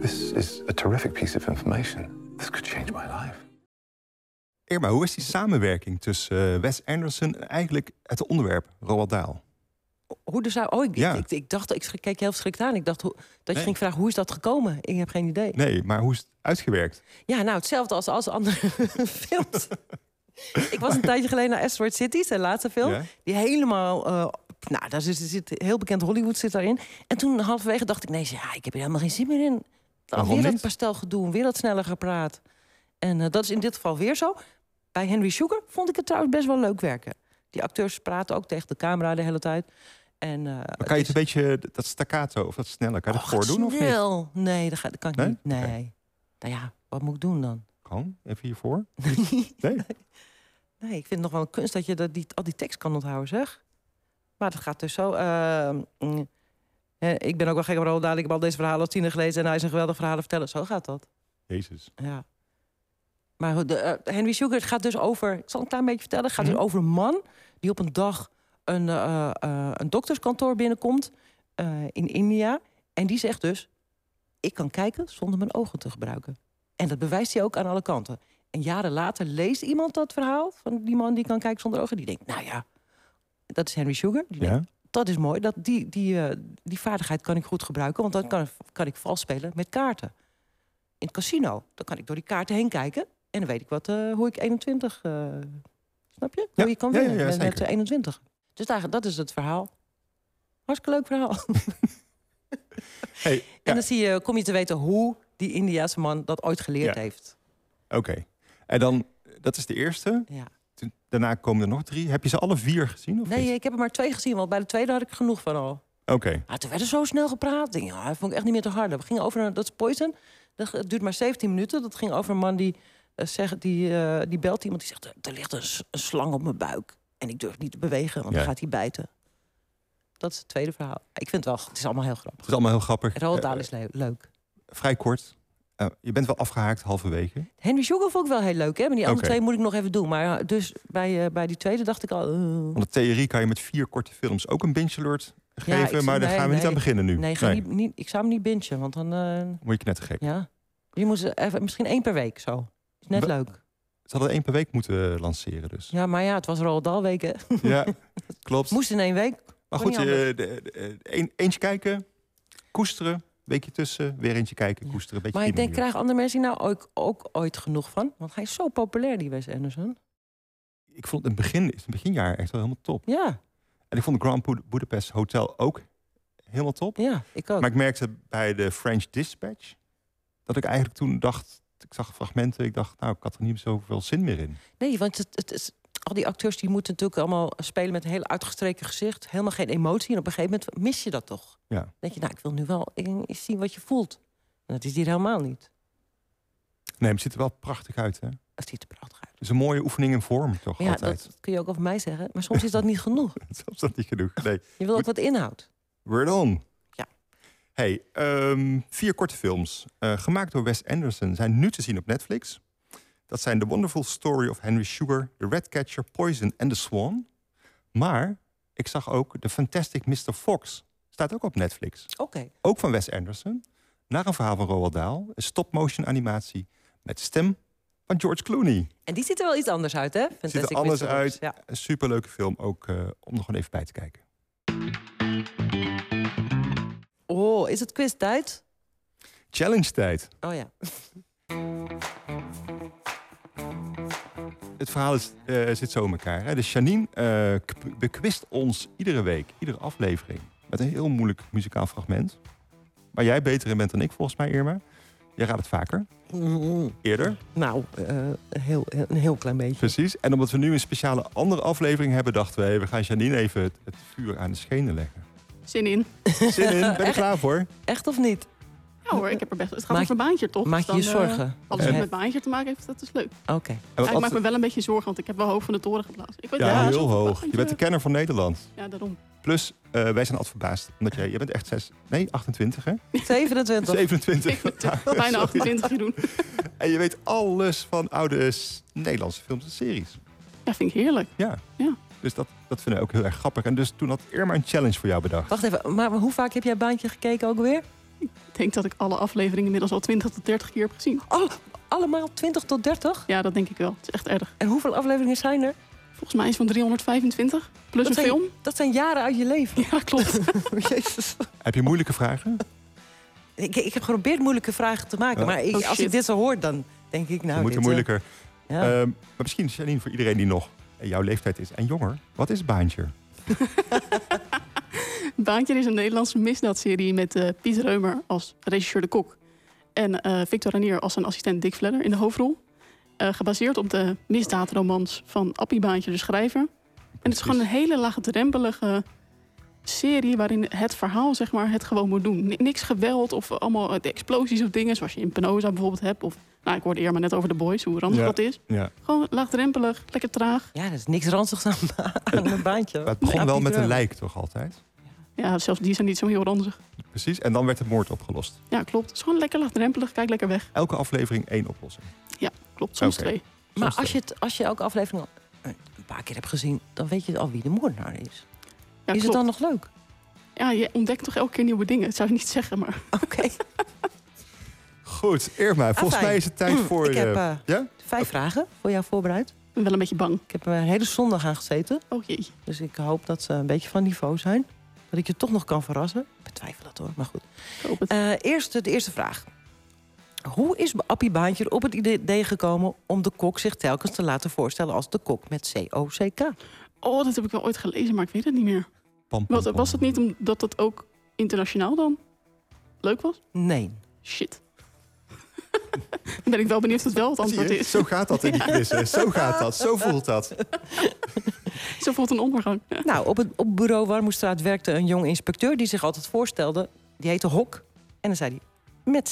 [SPEAKER 12] This is a terrific piece of information. This could change my life.
[SPEAKER 2] Irma, hoe is die samenwerking tussen eh, Wes Anderson en eigenlijk het onderwerp Roald Dahl?
[SPEAKER 1] Hoe de zou... Oh, ik,
[SPEAKER 2] Ja.
[SPEAKER 1] ik, ik, ik dacht, ik keek heel verschrikt aan. Ik dacht hoe, dat je
[SPEAKER 2] Nee.
[SPEAKER 1] ging vragen, hoe is dat gekomen? Ik heb geen idee.
[SPEAKER 2] Nee, maar hoe is het uitgewerkt?
[SPEAKER 1] Ja, nou, hetzelfde als als andere films. ik was een tijdje geleden naar Asteroid City, zijn laatste film.
[SPEAKER 2] Ja.
[SPEAKER 1] Die helemaal... eh, nou, daar zit, zit heel bekend Hollywood zit daarin. En toen halverwege dacht ik, nee, ja, ik heb er helemaal geen zin meer in.
[SPEAKER 2] Waarom
[SPEAKER 1] weer dat
[SPEAKER 2] niet?
[SPEAKER 1] pastel gedoe, weer dat sneller gepraat. En eh, dat is in dit geval weer zo. Bij Henry Sugar vond ik het trouwens best wel leuk werken. Die acteurs praten ook tegen de camera de hele tijd. En, eh,
[SPEAKER 2] Maar kan je het een beetje dat staccato of dat snelle, kan je dat
[SPEAKER 1] gaat
[SPEAKER 2] voordoen of niet?
[SPEAKER 1] snel. Nee, dat, ga, dat kan ik
[SPEAKER 2] Nee?
[SPEAKER 1] niet. Nee.
[SPEAKER 2] Oké.
[SPEAKER 1] Nou ja, wat moet ik doen dan?
[SPEAKER 2] Gewoon, even hiervoor.
[SPEAKER 1] Nee, ik vind het nog wel een kunst dat je dat die, al die tekst kan onthouden, zeg. Maar dat gaat dus zo. ehm, mm, eh, ik ben ook wel gek op Roald Dahl. Ik heb al deze verhalen als tiener gelezen... en hij is een geweldig verhalen vertellen. Zo gaat dat.
[SPEAKER 2] Jezus.
[SPEAKER 1] Dus, Ja. Maar goed, de, eh, Henry Sugar het gaat dus over... Ik zal een klein beetje vertellen. Het gaat dus over een man die op een dag een, eh, eh, een dokterskantoor binnenkomt eh, in India. En die zegt dus, ik kan kijken zonder mijn ogen te gebruiken. En dat bewijst hij ook aan alle kanten. En jaren later leest iemand dat verhaal van die man die kan kijken zonder ogen. Die denkt, nou ja, dat is Henry Sugar. Die
[SPEAKER 2] Ja.
[SPEAKER 1] denkt, dat is mooi. Dat, die, die, eh, die vaardigheid kan ik goed gebruiken. Want dan kan, kan ik vals spelen met kaarten. In het casino. Dan kan ik door die kaarten heen kijken. En dan weet ik wat, eh, hoe ik 21... eh, snap je?
[SPEAKER 2] Ja.
[SPEAKER 1] Hoe je kan
[SPEAKER 2] Ja, ja,
[SPEAKER 1] winnen
[SPEAKER 2] ja,
[SPEAKER 1] met, met,
[SPEAKER 2] zeker.
[SPEAKER 1] eh, 21. Dus daar, dat is het verhaal. Hartstikke leuk verhaal.
[SPEAKER 2] Hey,
[SPEAKER 1] En dan zie je, kom je te weten hoe die Indiaanse man dat ooit geleerd
[SPEAKER 2] Ja.
[SPEAKER 1] heeft.
[SPEAKER 2] Oké. En dan, dat is de eerste.
[SPEAKER 1] Ja.
[SPEAKER 2] Toen- Daarna komen er nog drie. Heb je ze alle vier gezien? Of
[SPEAKER 1] Nee,
[SPEAKER 2] niet?
[SPEAKER 1] ik heb er maar twee gezien, want bij de tweede had ik genoeg van al.
[SPEAKER 2] Oké.
[SPEAKER 1] Maar toen werd er zo snel gepraat. Ik Denk, ja, dat vond ik echt niet meer te hard. We gingen over naar, dat is Poison. Dat het duurt maar 17 minuten. Dat ging over een man die, eh, zegt, die, eh, die belt iemand. Die zegt, er ligt een, s- een slang op mijn buik. En ik durf niet te bewegen, want dan
[SPEAKER 2] Ja.
[SPEAKER 1] gaat hij bijten. Dat is het tweede verhaal. Ik vind het wel, het is allemaal heel grappig.
[SPEAKER 2] Het is allemaal heel grappig.
[SPEAKER 1] Roald Dahl
[SPEAKER 2] Eh,
[SPEAKER 1] is le- leuk.
[SPEAKER 2] Vrij kort. Eh, je bent wel afgehaakt halverwege.
[SPEAKER 1] Henry Sugar vond ik wel heel leuk, hè? Maar die andere
[SPEAKER 2] Oké.
[SPEAKER 1] twee moet ik nog even doen. Maar eh, dus bij, eh, bij die tweede dacht ik al... eh,
[SPEAKER 2] Want de theorie kan je met vier korte films ook een binge alert
[SPEAKER 1] ja, ik
[SPEAKER 2] geven.
[SPEAKER 1] zou-
[SPEAKER 2] maar daar
[SPEAKER 1] nee,
[SPEAKER 2] gaan we niet
[SPEAKER 1] nee.
[SPEAKER 2] aan beginnen nu.
[SPEAKER 1] Nee, ga Niet, niet- ik zou hem niet bingen, want dan... eh,
[SPEAKER 2] Moet je knettergek.
[SPEAKER 1] ja. Je moet er even, misschien één per week zo. Is net
[SPEAKER 2] Wa-
[SPEAKER 1] leuk.
[SPEAKER 2] Ze hadden één per week moeten eh, lanceren dus.
[SPEAKER 1] Ja, maar ja, het was Roald Dahl weken.
[SPEAKER 2] Ja, klopt.
[SPEAKER 1] Moest in één week.
[SPEAKER 2] Maar
[SPEAKER 1] Kon niet
[SPEAKER 2] goed,
[SPEAKER 1] anders.
[SPEAKER 2] eh, de- de- de- een- eentje kijken, koesteren, weekje tussen, weer eentje kijken, koesteren. Beetje
[SPEAKER 1] maar ik
[SPEAKER 2] op die
[SPEAKER 1] denk,
[SPEAKER 2] manier.
[SPEAKER 1] krijgen andere mensen hier nou ook, ook ooit genoeg van? Want hij is zo populair, die Wes Anderson.
[SPEAKER 2] Ik vond het begin, het beginjaar echt wel helemaal top.
[SPEAKER 1] Ja,
[SPEAKER 2] En ik vond de Grand Bud- Budapest Hotel ook helemaal top.
[SPEAKER 1] Ja, ik ook.
[SPEAKER 2] Maar ik merkte bij de French Dispatch dat ik eigenlijk toen dacht, ik zag fragmenten, ik dacht, nou, ik had er niet zoveel zin meer in.
[SPEAKER 1] nee, want het, het is, al die acteurs die moeten natuurlijk allemaal spelen met een heel uitgestreken gezicht. Helemaal geen emotie. En op een gegeven moment mis je dat toch?
[SPEAKER 2] Ja.
[SPEAKER 1] denk je, nou, ik wil nu wel eens zien wat je voelt. En dat is hier helemaal niet.
[SPEAKER 2] Nee, maar het ziet er wel prachtig uit, hè?
[SPEAKER 1] Het ziet er prachtig uit.
[SPEAKER 2] Het is een mooie oefening in vorm, toch?
[SPEAKER 1] Maar ja,
[SPEAKER 2] altijd.
[SPEAKER 1] dat kun je ook over mij zeggen. Maar soms is dat niet genoeg.
[SPEAKER 2] Soms is dat niet genoeg. Nee.
[SPEAKER 1] Je wil ook wat inhoud.
[SPEAKER 2] Word on.
[SPEAKER 1] Ja.
[SPEAKER 2] Hey, ehm, vier korte films eh, gemaakt door Wes Anderson zijn nu te zien op Netflix. Dat zijn The Wonderful Story of Henry Sugar, The Redcatcher, Poison en The Swan. Maar ik zag ook The Fantastic Mr. Fox. Staat ook op Netflix.
[SPEAKER 1] Oké.
[SPEAKER 2] Ook van Wes Anderson. Naar een verhaal van Roald Dahl. Een stop-motion animatie met stem van George Clooney.
[SPEAKER 1] En die ziet er wel iets anders uit, hè?
[SPEAKER 2] Ziet er
[SPEAKER 1] Fantastic
[SPEAKER 2] anders
[SPEAKER 1] Mr. Fox.
[SPEAKER 2] uit.
[SPEAKER 1] Ja.
[SPEAKER 2] Een superleuke film ook eh, om nog gewoon even bij te kijken.
[SPEAKER 1] Oh, is het quiz tijd?
[SPEAKER 2] Challenge tijd.
[SPEAKER 1] Oh ja.
[SPEAKER 2] Het verhaal is, eh, zit zo in elkaar. Hè? Dus Janine eh, k- bekwist ons iedere week, iedere aflevering... met een heel moeilijk muzikaal fragment. Waar jij beter in bent dan ik, volgens mij, Irma. Jij raadt het vaker, eerder.
[SPEAKER 1] Nou, eh, heel, een heel klein beetje.
[SPEAKER 2] Precies. En omdat we nu een speciale andere aflevering hebben... dachten we, hé, we gaan Janine even het, het vuur aan de schenen leggen.
[SPEAKER 3] Zin in.
[SPEAKER 2] Zin in, ben je er klaar voor?
[SPEAKER 1] Echt of niet?
[SPEAKER 3] Ja hoor, ik heb er best... Het gaat
[SPEAKER 1] Maak-
[SPEAKER 3] over een baantje, toch?
[SPEAKER 1] maak je
[SPEAKER 3] Dus
[SPEAKER 1] je
[SPEAKER 3] dan, eh,
[SPEAKER 1] zorgen?
[SPEAKER 3] alles
[SPEAKER 2] Eh,
[SPEAKER 3] wat met baantje te maken heeft, dat is leuk.
[SPEAKER 1] Oké.
[SPEAKER 2] En wat
[SPEAKER 3] Ja, ik maak me
[SPEAKER 2] altijd-
[SPEAKER 3] wel een beetje zorgen, want ik heb wel hoog van de toren geblazen. Ik weet
[SPEAKER 2] Ja,
[SPEAKER 3] ja,
[SPEAKER 2] heel
[SPEAKER 3] zo-
[SPEAKER 2] hoog. Je bent de kenner van Nederland.
[SPEAKER 3] Ja, daarom.
[SPEAKER 2] Plus, eh, wij zijn altijd verbaasd. Omdat jij, jij bent echt 6, nee, 28 hè?
[SPEAKER 1] 27.
[SPEAKER 2] 27.
[SPEAKER 3] eh, Bijna
[SPEAKER 2] Sorry.
[SPEAKER 3] 28 hier doen.
[SPEAKER 2] En je weet alles van oude s- Nederlandse films en series.
[SPEAKER 3] Ja, vind ik heerlijk.
[SPEAKER 2] Ja.
[SPEAKER 3] Ja.
[SPEAKER 2] Dus dat, dat vinden we ook heel erg grappig. En dus toen had Irma een challenge voor jou bedacht.
[SPEAKER 1] Wacht even, maar hoe vaak heb jij Baantje gekeken ook weer?
[SPEAKER 3] Ik denk dat ik alle afleveringen inmiddels al 20 tot 30 keer heb gezien.
[SPEAKER 1] allemaal 20 tot 30?
[SPEAKER 3] Ja, dat denk ik wel. Het is echt erg.
[SPEAKER 1] En hoeveel afleveringen zijn er?
[SPEAKER 3] Volgens mij is van 325
[SPEAKER 1] dat
[SPEAKER 3] plus een
[SPEAKER 1] zijn,
[SPEAKER 3] film.
[SPEAKER 1] Dat zijn jaren uit je leven.
[SPEAKER 3] Ja, klopt.
[SPEAKER 1] Jezus.
[SPEAKER 2] Heb je moeilijke vragen?
[SPEAKER 1] Ik, ik heb geprobeerd moeilijke vragen te maken,
[SPEAKER 2] Ja.
[SPEAKER 1] maar ik-
[SPEAKER 3] Oh,
[SPEAKER 1] als
[SPEAKER 3] shit.
[SPEAKER 1] ik dit zo hoor, dan denk ik nou...
[SPEAKER 2] Dan moet je
[SPEAKER 1] dit,
[SPEAKER 2] moeilijker.
[SPEAKER 1] eh, ja.
[SPEAKER 2] Ehm, maar misschien, Janine, voor iedereen die nog eh, jouw leeftijd is en jonger. Wat is Baantje?
[SPEAKER 3] Baantje is een Nederlandse misdaadserie met eh, Piet Reumer als regisseur de kok. En eh, Victor Ranier als zijn assistent Dick Vledder in de hoofdrol. Eh, gebaseerd op de misdaadromans van Appie Baantje de schrijver. En het is gewoon een hele laagdrempelige serie waarin het verhaal zeg maar, het gewoon moet doen. Ni- Niks geweld of allemaal eh, explosies of dingen zoals je in Penosa bijvoorbeeld hebt. Of, nou, ik hoorde eerder maar net over de boys, hoe ranzig
[SPEAKER 2] Ja.
[SPEAKER 3] dat is.
[SPEAKER 2] Ja.
[SPEAKER 3] Gewoon laagdrempelig, lekker traag.
[SPEAKER 1] ja, er is niks ranzigs aan, aan een baantje.
[SPEAKER 2] Maar het begon
[SPEAKER 1] Ja,
[SPEAKER 2] wel
[SPEAKER 1] Piet
[SPEAKER 2] met een
[SPEAKER 1] Reumer.
[SPEAKER 2] lijk, toch altijd?
[SPEAKER 3] Ja, zelfs die zijn niet zo heel ranzig.
[SPEAKER 2] Precies. En dan werd de moord opgelost.
[SPEAKER 3] Ja, klopt. Het is gewoon lekker laagdrempelig, kijk lekker weg.
[SPEAKER 2] Elke aflevering één oplossing.
[SPEAKER 3] Ja, klopt. Soms
[SPEAKER 2] Oké.
[SPEAKER 3] twee.
[SPEAKER 1] Maar
[SPEAKER 2] Soms
[SPEAKER 1] als je, het, als je elke aflevering al een paar keer hebt gezien... dan weet je al wie de moordenaar is. is
[SPEAKER 3] Ja,
[SPEAKER 1] het dan
[SPEAKER 3] klopt.
[SPEAKER 1] nog leuk?
[SPEAKER 3] Ja, je ontdekt toch elke keer nieuwe dingen. Dat zou je niet zeggen, maar...
[SPEAKER 1] Oké.
[SPEAKER 2] Goed, Irma, volgens
[SPEAKER 1] fijn.
[SPEAKER 2] mij is het tijd
[SPEAKER 1] Mm,
[SPEAKER 2] voor...
[SPEAKER 1] ik heb,
[SPEAKER 2] eh,
[SPEAKER 1] eh,
[SPEAKER 2] ja?
[SPEAKER 1] Vijf vragen voor jou voorbereid.
[SPEAKER 3] Ik ben wel een beetje bang.
[SPEAKER 1] Ik heb er een hele zondag aan gezeten.
[SPEAKER 3] Oh jee.
[SPEAKER 1] Dus ik hoop dat ze een beetje van niveau zijn. Dat ik je toch nog kan verrassen. Ik betwijfel dat hoor, maar goed.
[SPEAKER 3] Ik hoop het.
[SPEAKER 1] Eh, eerst, de eerste vraag. Hoe is Appie Baantje op het idee gekomen om de kok zich telkens te laten voorstellen als de kok met C-O-C-K?
[SPEAKER 3] Oh, dat heb ik wel ooit gelezen, maar ik weet het niet meer.
[SPEAKER 2] Pam, pam,
[SPEAKER 3] Wat, was
[SPEAKER 2] pam.
[SPEAKER 3] het niet omdat dat ook internationaal dan leuk was?
[SPEAKER 1] Nee.
[SPEAKER 3] Shit. dan ben ik wel benieuwd of het wel het
[SPEAKER 2] Zie
[SPEAKER 3] antwoord
[SPEAKER 2] je?
[SPEAKER 3] is.
[SPEAKER 2] Zo gaat dat in die quizzen. Zo gaat dat. Zo voelt dat.
[SPEAKER 3] Zo voelt een ondergang.
[SPEAKER 1] Nou, op het op bureau Warmoestraat werkte een jong inspecteur die zich altijd voorstelde. Die heette Hok. En dan zei hij met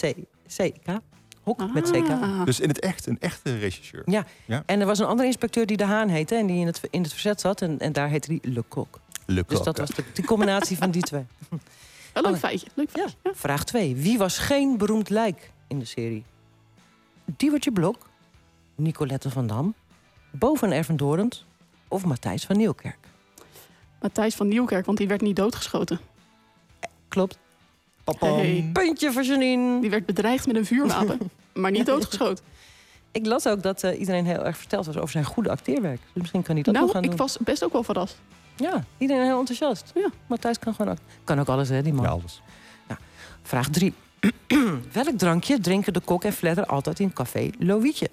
[SPEAKER 1] C-C-K. Hok met
[SPEAKER 3] Ah.
[SPEAKER 1] CK.
[SPEAKER 2] Dus in het echt, een echte regisseur.
[SPEAKER 1] Ja.
[SPEAKER 2] Ja.
[SPEAKER 1] en er was een andere inspecteur die De Haan heette... en die in het, in het verzet zat. En, en daar heette die Le Coq.
[SPEAKER 2] Le
[SPEAKER 1] Dus
[SPEAKER 2] Coq,
[SPEAKER 1] dat
[SPEAKER 2] ja.
[SPEAKER 1] was de, die combinatie van die twee.
[SPEAKER 3] Een
[SPEAKER 1] Oh,
[SPEAKER 3] leuk feitje. Leuk feitje. Ja.
[SPEAKER 1] Vraag 2. Wie was geen beroemd lijk in de serie? Diewertje Blok, Nicolette van Dam, Bo van Ervendorend of Matthijs van Nieuwkerk?
[SPEAKER 3] Matthijs van Nieuwkerk, want die werd niet doodgeschoten.
[SPEAKER 1] Klopt.
[SPEAKER 3] Papam.
[SPEAKER 1] Puntje voor Janine.
[SPEAKER 3] Die werd bedreigd met een vuurwapen, maar niet doodgeschoten.
[SPEAKER 1] Ik las ook dat eh, iedereen heel erg verteld was over zijn goede acteerwerk. Dus misschien kan hij dat nog
[SPEAKER 3] Nou,
[SPEAKER 1] gaan
[SPEAKER 3] ik
[SPEAKER 1] doen.
[SPEAKER 3] was best ook wel verrast.
[SPEAKER 1] Ja, iedereen heel enthousiast. Ja. Matthijs kan gewoon act- Kan ook alles, hè, die man.
[SPEAKER 2] Ja, alles.
[SPEAKER 1] Ja. Vraag 3. Welk drankje drinken de kok en fledder altijd in café Loïtje?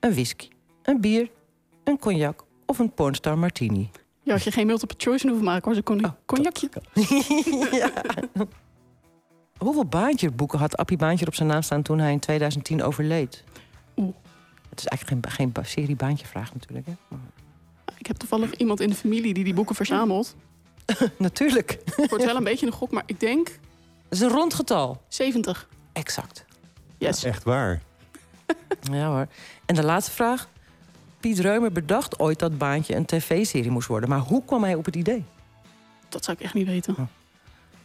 [SPEAKER 1] Een whisky, een bier, een cognac of een pornstar martini?
[SPEAKER 3] Ja, had je geen multiple choice hoeven maken, hoor. Ze
[SPEAKER 2] Oh,
[SPEAKER 3] kon een cognacje.
[SPEAKER 1] Hoeveel baantjeboeken had Appie Baantje op zijn naam staan toen hij in 2010 overleed?
[SPEAKER 3] Oeh.
[SPEAKER 1] Het is eigenlijk geen, geen ba- serie baantjevraag natuurlijk, hè?
[SPEAKER 3] Ik heb toevallig iemand in de familie die die boeken verzamelt.
[SPEAKER 1] Natuurlijk.
[SPEAKER 3] Wordt wel een beetje een gok, maar ik denk
[SPEAKER 1] Het is een rond getal.
[SPEAKER 3] 70.
[SPEAKER 1] Exact.
[SPEAKER 3] Yes.
[SPEAKER 2] Echt waar.
[SPEAKER 1] Ja hoor. En de laatatste vraag. Piet Reumer bedacht ooit dat Baantje een tv-serie moest worden. Maar hoe kwam hij op het idee?
[SPEAKER 3] Dat zou ik echt niet weten.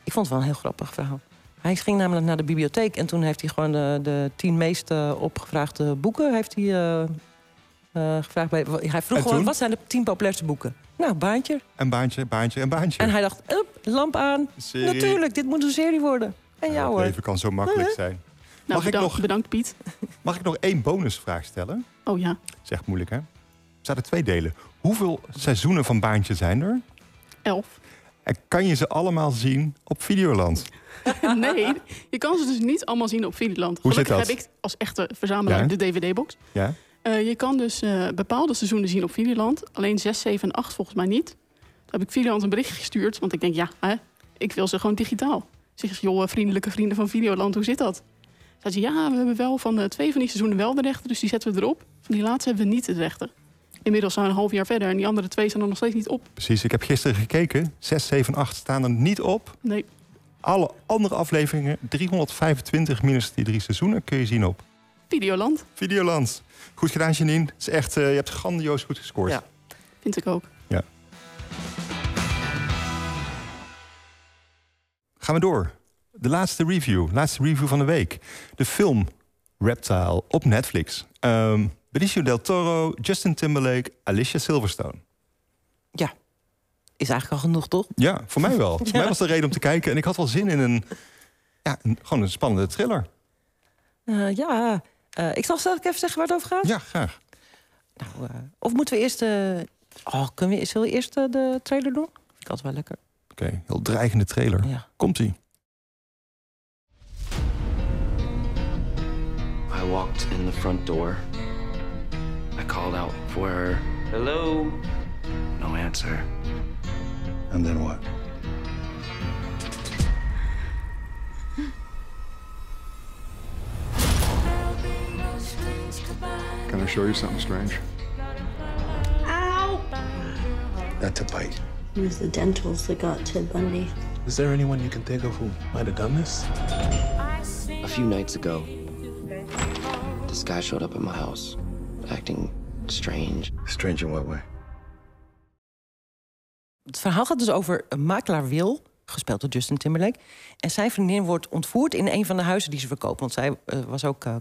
[SPEAKER 1] Ik vond het wel een heel grappig verhaal. Hij ging namelijk naar de bibliotheek en toen heeft hij gewoon de, de tien meest eh, opgevraagde boeken heeft hij, eh, eh, gevraagd. Bij, hij vroeg
[SPEAKER 2] En
[SPEAKER 1] gewoon,
[SPEAKER 2] toen?
[SPEAKER 1] wat zijn de tien populairste boeken? Nou, Baantje.
[SPEAKER 2] Een baantje, baantje, een baantje.
[SPEAKER 1] En hij dacht, up, lamp aan.
[SPEAKER 2] Serie.
[SPEAKER 1] Natuurlijk, dit moet een serie worden. En jou
[SPEAKER 2] Het
[SPEAKER 1] hoor.
[SPEAKER 2] leven kan zo makkelijk
[SPEAKER 1] Huh?
[SPEAKER 2] zijn.
[SPEAKER 3] Nou,
[SPEAKER 2] Mag ik
[SPEAKER 3] bedankt,
[SPEAKER 2] nog-
[SPEAKER 3] bedankt Piet.
[SPEAKER 2] Mag ik nog één bonusvraag stellen?
[SPEAKER 3] Oh ja,
[SPEAKER 2] Dat is echt moeilijk, hè? Er zaten twee delen. Hoeveel seizoenen van Baantje zijn er?
[SPEAKER 3] elf.
[SPEAKER 2] En kan je ze allemaal zien op Videoland?
[SPEAKER 3] nee, je kan ze dus niet allemaal zien op Videoland.
[SPEAKER 2] Hoe zit
[SPEAKER 3] Gelukkig
[SPEAKER 2] dat?
[SPEAKER 3] heb ik als echte verzamelaar
[SPEAKER 2] Ja.
[SPEAKER 3] de DVD-box.
[SPEAKER 2] Ja?
[SPEAKER 3] Eh, je kan dus eh, bepaalde seizoenen zien op Videoland. Alleen 6, 7 en 8 volgens mij niet. Toen heb ik Videoland een bericht gestuurd. Want ik denk, ja, hè, ik wil ze gewoon digitaal. Ze zegt, joh, eh, vriendelijke vrienden van Videoland, hoe zit dat? Zei ze, ja, we hebben wel van eh, twee van die seizoenen wel de rechten. Dus die zetten we erop. Van die laatste hebben we niet de rechten. Inmiddels zijn we een half jaar verder. En die andere twee zijn er nog steeds niet op.
[SPEAKER 2] Precies, ik heb gisteren gekeken. 6, 7, 8 staan er niet op.
[SPEAKER 3] Nee.
[SPEAKER 2] Alle andere afleveringen, 325 minus die drie seizoenen, kun je zien op
[SPEAKER 3] Videoland,
[SPEAKER 2] Videoland. Goed gedaan, Janine. Het is echt, eh, je hebt grandioos goed gescoord.
[SPEAKER 1] Ja.
[SPEAKER 3] vind ik ook.
[SPEAKER 2] Gaan we door. De laatste review, laatste review van de week. De film Reptile op Netflix. Ehm Benicio del Toro, Justin Timberlake, Alicia Silverstone.
[SPEAKER 1] Is eigenlijk al genoeg, toch?
[SPEAKER 2] Ja, voor mij wel.
[SPEAKER 1] Ja.
[SPEAKER 2] Voor mij was de reden om te kijken. En ik had wel zin in een, ja, een- gewoon een spannende thriller.
[SPEAKER 1] Eh, ja, Eh, ik zal zelf even zeggen waar het over gaat.
[SPEAKER 2] Ja, graag.
[SPEAKER 1] Nou, eh, of moeten we eerst... eh, Oh, kunnen we, zullen we eerst eh, de trailer doen? Vind ik altijd wel lekker.
[SPEAKER 2] Oké, heel dreigende trailer.
[SPEAKER 1] Ja.
[SPEAKER 2] Komt-ie.
[SPEAKER 16] I walked in the front door. I called out for her. Hello? Nou, No answer.
[SPEAKER 10] And then what?
[SPEAKER 5] Can I show you something strange?
[SPEAKER 17] Ow!
[SPEAKER 5] That's a bite.
[SPEAKER 17] It was the dentals that got Ted Bundy.
[SPEAKER 16] Is there anyone you can think of who might have done this? A few nights ago, this guy showed up at my house, acting strange. Strange in what way?
[SPEAKER 1] Het verhaal gaat dus over een makelaar Wil, gespeeld door Justin Timberlake. En zijn vriendin wordt ontvoerd in een van de huizen die ze verkoopt. Want zij eh, was ook eh,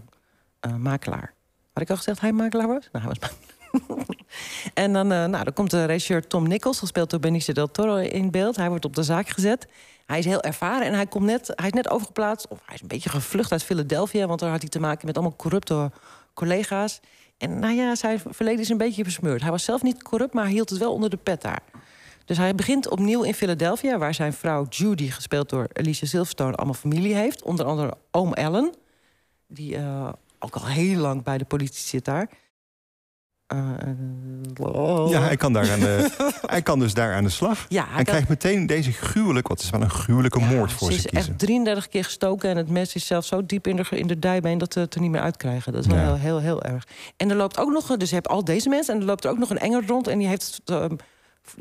[SPEAKER 1] eh, makelaar. Had ik al gezegd dat hij makelaar was? Nou, hij was makelaar. en dan, eh, nou, dan komt de regisseur Tom Nichols, gespeeld door Benicio del Toro, in beeld. Hij wordt op de zaak gezet. Hij is heel ervaren en hij, komt net, hij is net overgeplaatst... of hij is een beetje gevlucht uit Philadelphia... want daar had hij te maken met allemaal corrupte collega's. En nou ja, zijn verleden is een beetje besmeurd. Hij was zelf niet corrupt, maar hij hield het wel onder de pet daar. Dus hij begint opnieuw in Philadelphia, waar zijn vrouw Judy, gespeeld door Alicia Silverstone, allemaal familie heeft. Onder andere oom Ellen, die eh, ook al heel lang bij de politie zit daar. Eh, eh,
[SPEAKER 2] Ja, hij kan, daar aan de, hij kan dus daar aan de slag.
[SPEAKER 1] Ja, hij
[SPEAKER 2] en
[SPEAKER 1] kan-
[SPEAKER 2] krijgt meteen deze gruwelijk, wat is wel een gruwelijke moord voor
[SPEAKER 1] Ze
[SPEAKER 2] zich
[SPEAKER 1] is
[SPEAKER 2] kiezen.
[SPEAKER 1] echt 33 keer gestoken en het mes is zelfs zo diep in de, in de dijbeen dat ze het er niet meer uitkrijgen. Dat is wel
[SPEAKER 2] Ja.
[SPEAKER 1] heel, heel, heel erg. En er loopt ook nog, dus je hebt al deze mensen en er loopt er ook nog een enger rond en die, heeft, ehm,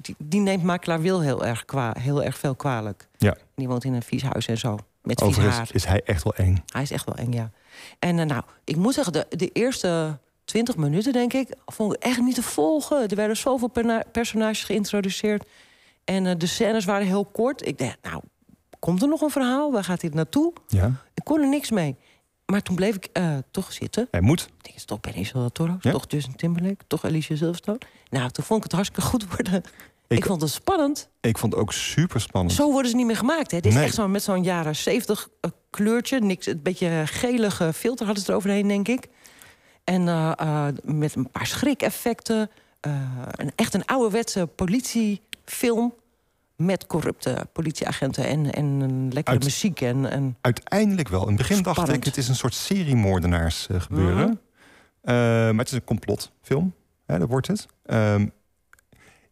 [SPEAKER 1] die, die neemt makelaar Wil heel erg, kwa, heel erg veel kwalijk.
[SPEAKER 2] Ja.
[SPEAKER 1] Die woont in een vies huis en zo. Met vies
[SPEAKER 2] Overigens
[SPEAKER 1] haar.
[SPEAKER 2] is hij echt wel eng.
[SPEAKER 1] Hij is echt wel eng, ja. En eh, nou, ik moet zeggen, de, de eerste twintig minuten, denk ik, vond ik echt niet te volgen. Er werden zoveel perna- personages geïntroduceerd. En eh, de scènes waren heel kort. Ik dacht, nou, komt er nog een verhaal? Waar gaat dit naartoe?
[SPEAKER 2] Ja.
[SPEAKER 1] Ik kon er niks mee. Maar toen bleef ik eh, toch zitten.
[SPEAKER 2] Hij moet.
[SPEAKER 1] Het is toch Benicio del Toro,
[SPEAKER 2] Ja.
[SPEAKER 1] toch Justin Timberlake, toch Alicia Silverstone. Nou, toen vond ik het hartstikke goed worden. Ik,
[SPEAKER 2] Ik-
[SPEAKER 1] vond het spannend.
[SPEAKER 2] Ik vond het ook super spannend.
[SPEAKER 1] Zo worden ze niet meer gemaakt. Hè? Het is
[SPEAKER 2] Nee.
[SPEAKER 1] echt zo met zo'n jaren 70 eh, kleurtje. Niks, een beetje gelige filter hadden ze eroverheen, denk ik. En eh, eh, met een paar schrikeffecten. eh, een, echt een ouderwetse politiefilm. Met corrupte politieagenten en, en een lekkere
[SPEAKER 2] Uit-
[SPEAKER 1] muziek. En, en
[SPEAKER 2] Uiteindelijk wel. In het begin dacht
[SPEAKER 1] Spannend.
[SPEAKER 2] ik, het is een soort seriemoordenaars eh, gebeuren.
[SPEAKER 1] Mhm.
[SPEAKER 2] Eh, maar het is een complotfilm, hè, dat wordt het. Ehm,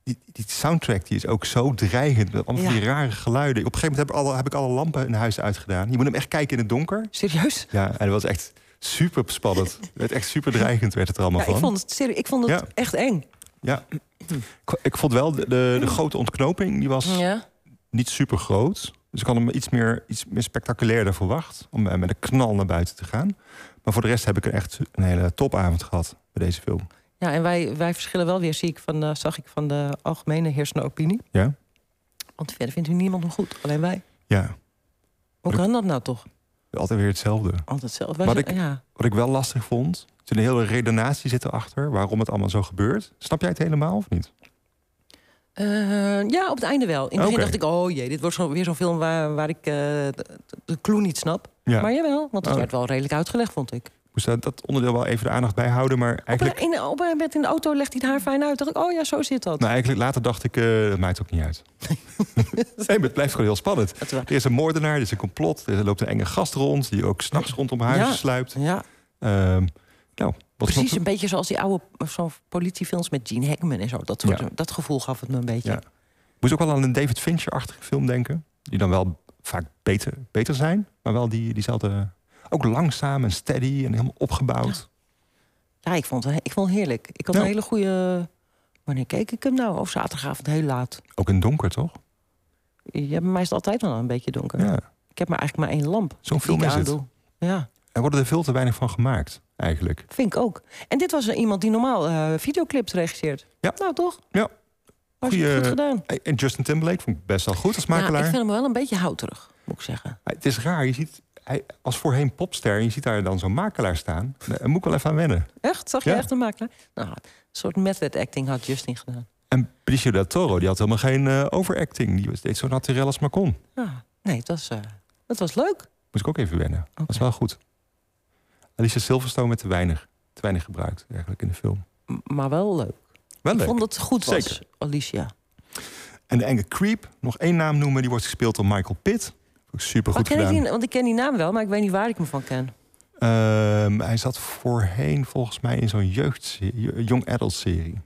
[SPEAKER 2] die, die soundtrack die is ook zo dreigend. met Allemaal van
[SPEAKER 1] Ja.
[SPEAKER 2] die rare geluiden. Op een gegeven moment heb ik, alle, heb ik alle lampen in huis uitgedaan. Je moet hem echt kijken in het donker.
[SPEAKER 1] Serieus?
[SPEAKER 2] Ja, en dat was echt super spannend. het werd echt super dreigend werd het er allemaal
[SPEAKER 1] ja,
[SPEAKER 2] van.
[SPEAKER 1] ik vond het, serie- ik vond het
[SPEAKER 2] Ja.
[SPEAKER 1] echt eng.
[SPEAKER 2] Ja. Ik- Ik vond wel de, de,
[SPEAKER 1] Mm.
[SPEAKER 2] de grote ontknoping, die was
[SPEAKER 1] Ja.
[SPEAKER 2] niet super groot. Dus ik had hem iets meer, iets meer spectaculairder verwacht. Om eh, met een knal naar buiten te gaan. Maar voor de rest heb ik een echt een hele topavond gehad bij deze film.
[SPEAKER 1] Ja, en wij, wij verschillen wel weer, zie ik van, eh, zag ik van de algemene heersende opinie.
[SPEAKER 2] Ja?
[SPEAKER 1] Want verder vindt u niemand hem goed, alleen wij.
[SPEAKER 2] Ja.
[SPEAKER 1] Hoe kan dat nou toch?
[SPEAKER 2] Altijd weer hetzelfde.
[SPEAKER 1] Altijd hetzelfde. Wij
[SPEAKER 2] Wat
[SPEAKER 1] zijn-
[SPEAKER 2] ik,
[SPEAKER 1] ja.
[SPEAKER 2] wat ik wel lastig vond, er zit een hele redenatie zit erachter. Waarom het allemaal zo gebeurt. Snap jij het helemaal of niet?
[SPEAKER 1] Eh, ja, op het einde wel. In het begin
[SPEAKER 2] Oké.
[SPEAKER 1] dacht ik, oh jee, dit wordt zo, weer zo'n film waar, waar ik eh, de, de clue niet snap.
[SPEAKER 2] Ja.
[SPEAKER 1] Maar jawel, want het
[SPEAKER 2] Oh.
[SPEAKER 1] werd wel redelijk uitgelegd, vond ik.
[SPEAKER 2] Ik moest dat, dat onderdeel wel even de aandacht bij houden. Maar eigenlijk,
[SPEAKER 1] Op, in, op, met in de auto legt hij het haar fijn uit. dacht ik, oh ja, zo zit dat.
[SPEAKER 2] nou, eigenlijk later dacht ik, eh dat maakt ook niet uit. nee, maar het blijft gewoon heel spannend. Er is een moordenaar, er is een complot. Er loopt een enge gast rond, die ook s'nachts rondom haar
[SPEAKER 1] Ja,
[SPEAKER 2] sluipt.
[SPEAKER 1] Ja.
[SPEAKER 2] nou, wat
[SPEAKER 1] Precies
[SPEAKER 2] wat-
[SPEAKER 1] een beetje zoals die oude eh, zo'n politiefilms met Gene Hackman en zo. Dat, soort- dat gevoel gaf het me een beetje.
[SPEAKER 2] Ja. Moest ook wel aan een David Fincher-achtige film denken. Die dan wel vaak beter, beter zijn, maar wel die, diezelfde... Ook langzaam en steady en helemaal opgebouwd.
[SPEAKER 1] Ja, ik vond het ik vond het heerlijk. Ik had
[SPEAKER 2] Ja.
[SPEAKER 1] een hele goede. Wanneer keek ik hem nou? Of zaterdagavond heel laat.
[SPEAKER 2] Ook in donker, toch?
[SPEAKER 1] Ja, bij mij is het altijd wel een beetje donker. Ik heb maar eigenlijk maar één lamp.
[SPEAKER 2] Zo'n
[SPEAKER 1] die
[SPEAKER 2] film
[SPEAKER 1] ik
[SPEAKER 2] is het.
[SPEAKER 1] aandoe. Ja,
[SPEAKER 2] Er worden er veel te weinig van gemaakt, eigenlijk.
[SPEAKER 1] vind ik ook. En dit was er iemand die normaal eh, videoclips regisseert.
[SPEAKER 2] Ja.
[SPEAKER 1] Nou, toch?
[SPEAKER 2] Ja.
[SPEAKER 1] Hartstikke
[SPEAKER 2] Goeie-
[SPEAKER 1] goed gedaan.
[SPEAKER 2] En Justin Timberlake vond ik best wel goed als makelaar.
[SPEAKER 1] Ja, ik vind hem wel een beetje houterig, moet ik zeggen.
[SPEAKER 2] Het is raar, je ziet... Hij was voorheen popster en je ziet daar dan zo'n makelaar staan. Daar moet ik wel even aan wennen.
[SPEAKER 1] Echt? Zag je
[SPEAKER 2] Ja.
[SPEAKER 1] echt een makelaar? Nou, een soort method acting had Justin gedaan.
[SPEAKER 2] En Benicio del Toro, die had helemaal geen eh, overacting. Die was steeds zo naturel als maar kon. Moest
[SPEAKER 1] Ja. Ah, Nee, het was, eh, het was leuk.
[SPEAKER 2] ik ook even wennen. Dat is wel goed. Alicia Silverstone met te weinig, te weinig gebruikt eigenlijk in de film.
[SPEAKER 1] M- Maar wel leuk.
[SPEAKER 2] Wel
[SPEAKER 1] ik
[SPEAKER 2] leuk.
[SPEAKER 1] vond dat het goed was,
[SPEAKER 2] Zeker.
[SPEAKER 1] Alicia.
[SPEAKER 2] En de enge Creep, nog één naam noemen. Die wordt gespeeld door Michael Pitt. Ook super
[SPEAKER 1] Maar
[SPEAKER 2] goed
[SPEAKER 1] ken Oh, ik
[SPEAKER 2] gedaan.
[SPEAKER 1] die, want ik ken die naam wel, maar ik weet niet waar ik hem van ken.
[SPEAKER 2] Ehm, hij zat voorheen volgens mij in zo'n jeugd, young adult serie.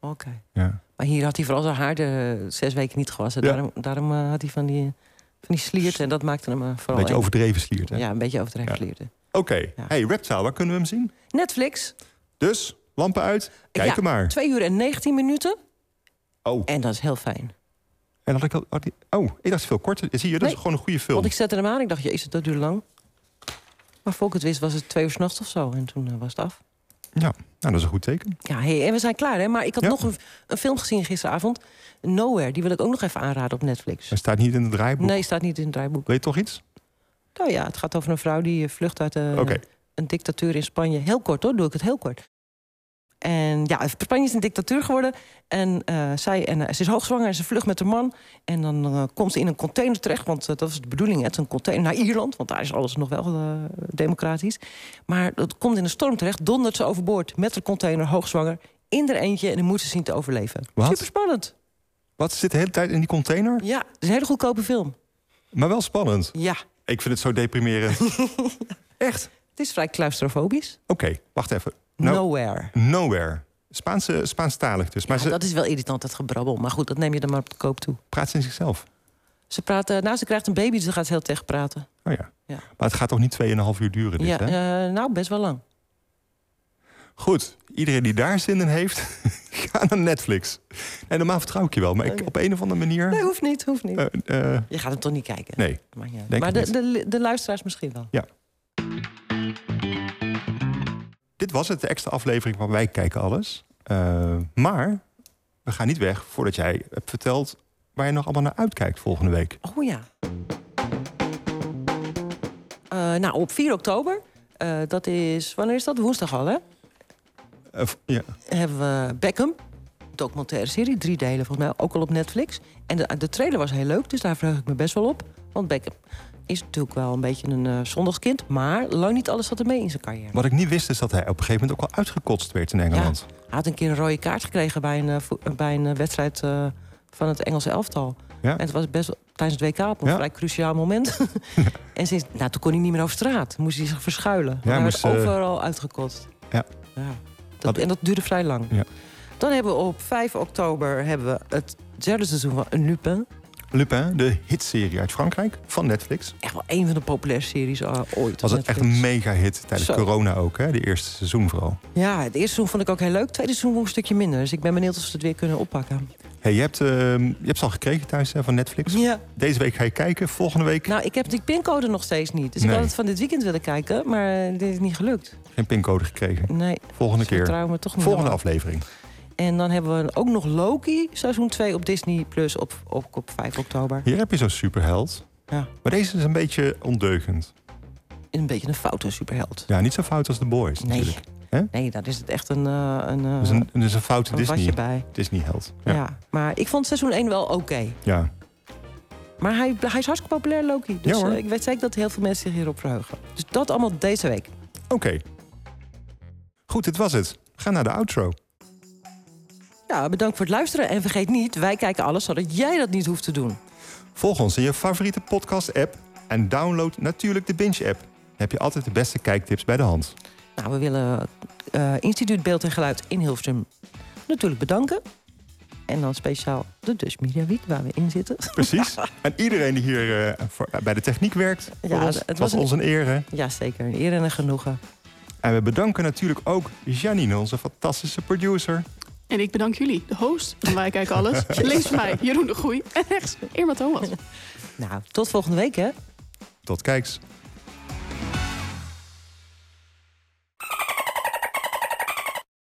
[SPEAKER 1] Oké.
[SPEAKER 2] Ja.
[SPEAKER 1] Maar hier had hij vooral zijn haar de zes weken niet gewassen.
[SPEAKER 2] Ja.
[SPEAKER 1] Daarom, daarom eh, had hij van die, van die slierten. En dat maakte hem eh, vooral...
[SPEAKER 2] Een beetje
[SPEAKER 1] eng.
[SPEAKER 2] overdreven sliert, hè?
[SPEAKER 1] Ja, een beetje overdreven
[SPEAKER 2] Ja.
[SPEAKER 1] slierten.
[SPEAKER 2] Oké, hey Reptile, waar kunnen we hem zien?
[SPEAKER 1] Netflix.
[SPEAKER 2] Dus, lampen uit, kijken
[SPEAKER 1] ja,
[SPEAKER 2] maar.
[SPEAKER 1] Twee uur en 19 minuten.
[SPEAKER 2] Oh.
[SPEAKER 1] En dat is heel fijn.
[SPEAKER 2] En had ik al, had die- oh, ik dacht veel korter. Zie je, dat
[SPEAKER 1] Nee,
[SPEAKER 2] is gewoon een goede film.
[SPEAKER 1] Want ik zette hem aan. Ik dacht, jezus, dat duurt lang. Maar voor ik het wist was het twee uur s'nachts of zo. En toen eh, was het af.
[SPEAKER 2] Ja, nou, dat is een goed teken.
[SPEAKER 1] Ja, hey, en we zijn klaar, hè? Maar ik had nog een, een film gezien gisteravond. Nowhere. Die wil ik ook nog even aanraden op Netflix.
[SPEAKER 2] Hij staat niet in het draaiboek.
[SPEAKER 1] Nee, staat niet in het draaiboek.
[SPEAKER 2] Weet je toch iets?
[SPEAKER 1] Nou ja, het gaat over een vrouw die eh, vlucht uit eh,
[SPEAKER 2] Oké.
[SPEAKER 1] een dictatuur in Spanje. Heel kort hoor, doe ik het heel kort. En ja, Spanje is een dictatuur geworden. En eh, zij en, eh, ze is hoogzwanger en ze vlucht met haar man. En dan eh, komt ze in een container terecht. Want eh, dat is de bedoeling, hè, het is een container naar Ierland. Want daar is alles nog wel eh, democratisch. Maar dat komt in een storm terecht. Dondert ze overboord met de container, hoogzwanger. In haar eentje en dan moet ze zien te overleven.
[SPEAKER 2] Wat?
[SPEAKER 1] Super spannend.
[SPEAKER 2] Wat zit de hele tijd in die container?
[SPEAKER 1] Ja, het is een hele goedkope film.
[SPEAKER 2] Maar wel spannend.
[SPEAKER 1] Ja,
[SPEAKER 2] Ik vind het zo deprimerend. Oké, Echt?
[SPEAKER 1] het is vrij claustrofobisch.
[SPEAKER 2] wacht even. Nou,
[SPEAKER 1] Nowhere.
[SPEAKER 2] Nowhere. Spaanse, Spaanstalig dus. Maar
[SPEAKER 1] Ja,
[SPEAKER 2] ze
[SPEAKER 1] dat is wel irritant, dat gebrabbel. Maar goed, dat neem je dan maar op de koop toe.
[SPEAKER 2] praat ze in zichzelf.
[SPEAKER 1] Ze, praat, eh, nou, ze krijgt een baby, dus ze gaat heel tegen praten.
[SPEAKER 2] Oh ja.
[SPEAKER 1] Ja.
[SPEAKER 2] Maar het gaat toch niet 2,5 uur duren dit,
[SPEAKER 1] ja,
[SPEAKER 2] hè?
[SPEAKER 1] eh, nou, best wel lang.
[SPEAKER 2] Goed, iedereen die daar zin in heeft, ga naar Netflix. En normaal vertrouw ik je wel, maar ik,
[SPEAKER 1] Oké.
[SPEAKER 2] op een of andere manier...
[SPEAKER 1] Nee, hoeft niet, hoeft niet.
[SPEAKER 2] eh, eh,
[SPEAKER 1] Je gaat hem toch niet kijken?
[SPEAKER 2] nee,
[SPEAKER 1] Maakt niet uit.
[SPEAKER 2] Denk
[SPEAKER 1] maar
[SPEAKER 2] ik
[SPEAKER 1] de,
[SPEAKER 2] niet.
[SPEAKER 1] de, de luisteraars misschien wel.
[SPEAKER 2] dit was het, de extra aflevering van Wij Kijken Alles. Eh, maar we gaan niet weg voordat jij hebt verteld... waar je nog allemaal naar uitkijkt volgende week.
[SPEAKER 1] Oh ja. Eh, nou, op 4 oktober. eh, dat is, wanneer is dat? Woensdag al, hè?
[SPEAKER 2] Eh, v- ja.
[SPEAKER 1] Hebben we Beckham. Documentaire serie, drie delen volgens mij, ook al op Netflix. En de, de trailer was heel leuk, dus daar verheug ik me best wel op. Want Beckham is natuurlijk wel een beetje een eh, zondagskind... maar lang niet alles zat ermee in zijn carrière.
[SPEAKER 2] Wat ik niet wist is dat hij op een gegeven moment ook al uitgekotst werd in Engeland.
[SPEAKER 1] Hij had een keer een rode kaart gekregen bij een, eh, vo- eh, bij een eh, wedstrijd eh, van het Engelse elftal.
[SPEAKER 2] Ja.
[SPEAKER 1] En het was best wel- tijdens het WK op een
[SPEAKER 2] Ja.
[SPEAKER 1] vrij cruciaal moment. en sinds, nou, toen kon hij niet meer over straat. Moest hij zich verschuilen.
[SPEAKER 2] hij
[SPEAKER 1] Ja, hij
[SPEAKER 2] moest,
[SPEAKER 1] werd
[SPEAKER 2] eh,
[SPEAKER 1] overal uitgekotst.
[SPEAKER 2] Ja.
[SPEAKER 1] Ja. Dat, en dat duurde vrij lang.
[SPEAKER 2] Ja.
[SPEAKER 1] Dan hebben we op 5 oktober hebben we het derde seizoen van Lupin.
[SPEAKER 2] Lupin, de hitserie uit Frankrijk van Netflix.
[SPEAKER 1] Echt wel een van de populairste series eh, ooit.
[SPEAKER 2] Was het echt
[SPEAKER 1] Netflix.
[SPEAKER 2] een mega hit tijdens
[SPEAKER 1] Zo.
[SPEAKER 2] corona ook, hè? De eerste seizoen vooral.
[SPEAKER 1] Ja, het eerste seizoen vond ik ook heel leuk. Het tweede seizoen was een stukje minder. Dus ik ben benieuwd of ze het weer kunnen oppakken.
[SPEAKER 2] Hey, je, hebt, ehm, je hebt ze al gekregen thuis hè, van Netflix.
[SPEAKER 1] Ja.
[SPEAKER 2] Deze week ga je kijken, volgende week
[SPEAKER 1] Nou, ik heb die pincode nog steeds niet. Dus ik
[SPEAKER 2] Nee.
[SPEAKER 1] had het van dit weekend willen kijken, maar eh, dit is niet gelukt.
[SPEAKER 2] geen pincode gekregen.
[SPEAKER 1] Nee. dus
[SPEAKER 2] Volgende
[SPEAKER 1] Ze vertrouwen
[SPEAKER 2] keer.
[SPEAKER 1] me toch niet
[SPEAKER 2] Volgende
[SPEAKER 1] helemaal.
[SPEAKER 2] aflevering.
[SPEAKER 1] En dan hebben we ook nog Loki, seizoen 2 op Disney Plus op, op, op 5 oktober.
[SPEAKER 2] Hier heb je zo'n superheld.
[SPEAKER 1] Ja.
[SPEAKER 2] Maar deze is een beetje ondeugend.
[SPEAKER 1] Een beetje een foute superheld.
[SPEAKER 2] Ja, niet zo fout als The Boys
[SPEAKER 1] Nee.
[SPEAKER 2] natuurlijk. Hè?
[SPEAKER 1] Nee, daar is het echt een... eh, een, eh,
[SPEAKER 2] Dat is een, dat is een foute
[SPEAKER 1] Een
[SPEAKER 2] Disney,
[SPEAKER 1] watje bij.
[SPEAKER 2] Disney-held.
[SPEAKER 1] ja. Maar ik vond seizoen 1 wel oké.
[SPEAKER 2] ja.
[SPEAKER 1] Maar hij, hij is hartstikke populair, Loki. Dus
[SPEAKER 2] Ja, hoor.
[SPEAKER 1] eh, ik weet zeker dat heel veel mensen zich hierop verheugen. Dus dat allemaal deze week.
[SPEAKER 2] Oké. Goed, dit was het. We gaan naar de outro.
[SPEAKER 1] Ja, bedankt voor het luisteren. En vergeet niet, wij kijken alles zodat jij dat niet hoeft te doen.
[SPEAKER 2] Volg ons in je favoriete podcast-app en download natuurlijk de Binge-app. Dan heb je altijd de beste kijktips bij de hand.
[SPEAKER 1] Nou, we willen eh, Instituut Beeld en Geluid in Hilversum natuurlijk bedanken. En dan speciaal de Dus Media Week waar we in zitten.
[SPEAKER 2] Precies. en iedereen die hier eh, voor- bij de techniek werkt, voor
[SPEAKER 1] Ja,
[SPEAKER 2] ons,
[SPEAKER 1] het
[SPEAKER 2] was,
[SPEAKER 1] was
[SPEAKER 2] ons een
[SPEAKER 1] een-
[SPEAKER 2] eer. hè?
[SPEAKER 1] Jazeker, een eer en een genoegen.
[SPEAKER 2] En we bedanken natuurlijk ook Janine, onze fantastische producer.
[SPEAKER 3] En ik bedank jullie, de host van Wij Kijken Alles. Links van mij, Jeroen de Groei. En rechts, Irma Thomas.
[SPEAKER 1] Nou, tot volgende week hè.
[SPEAKER 2] Tot kijks.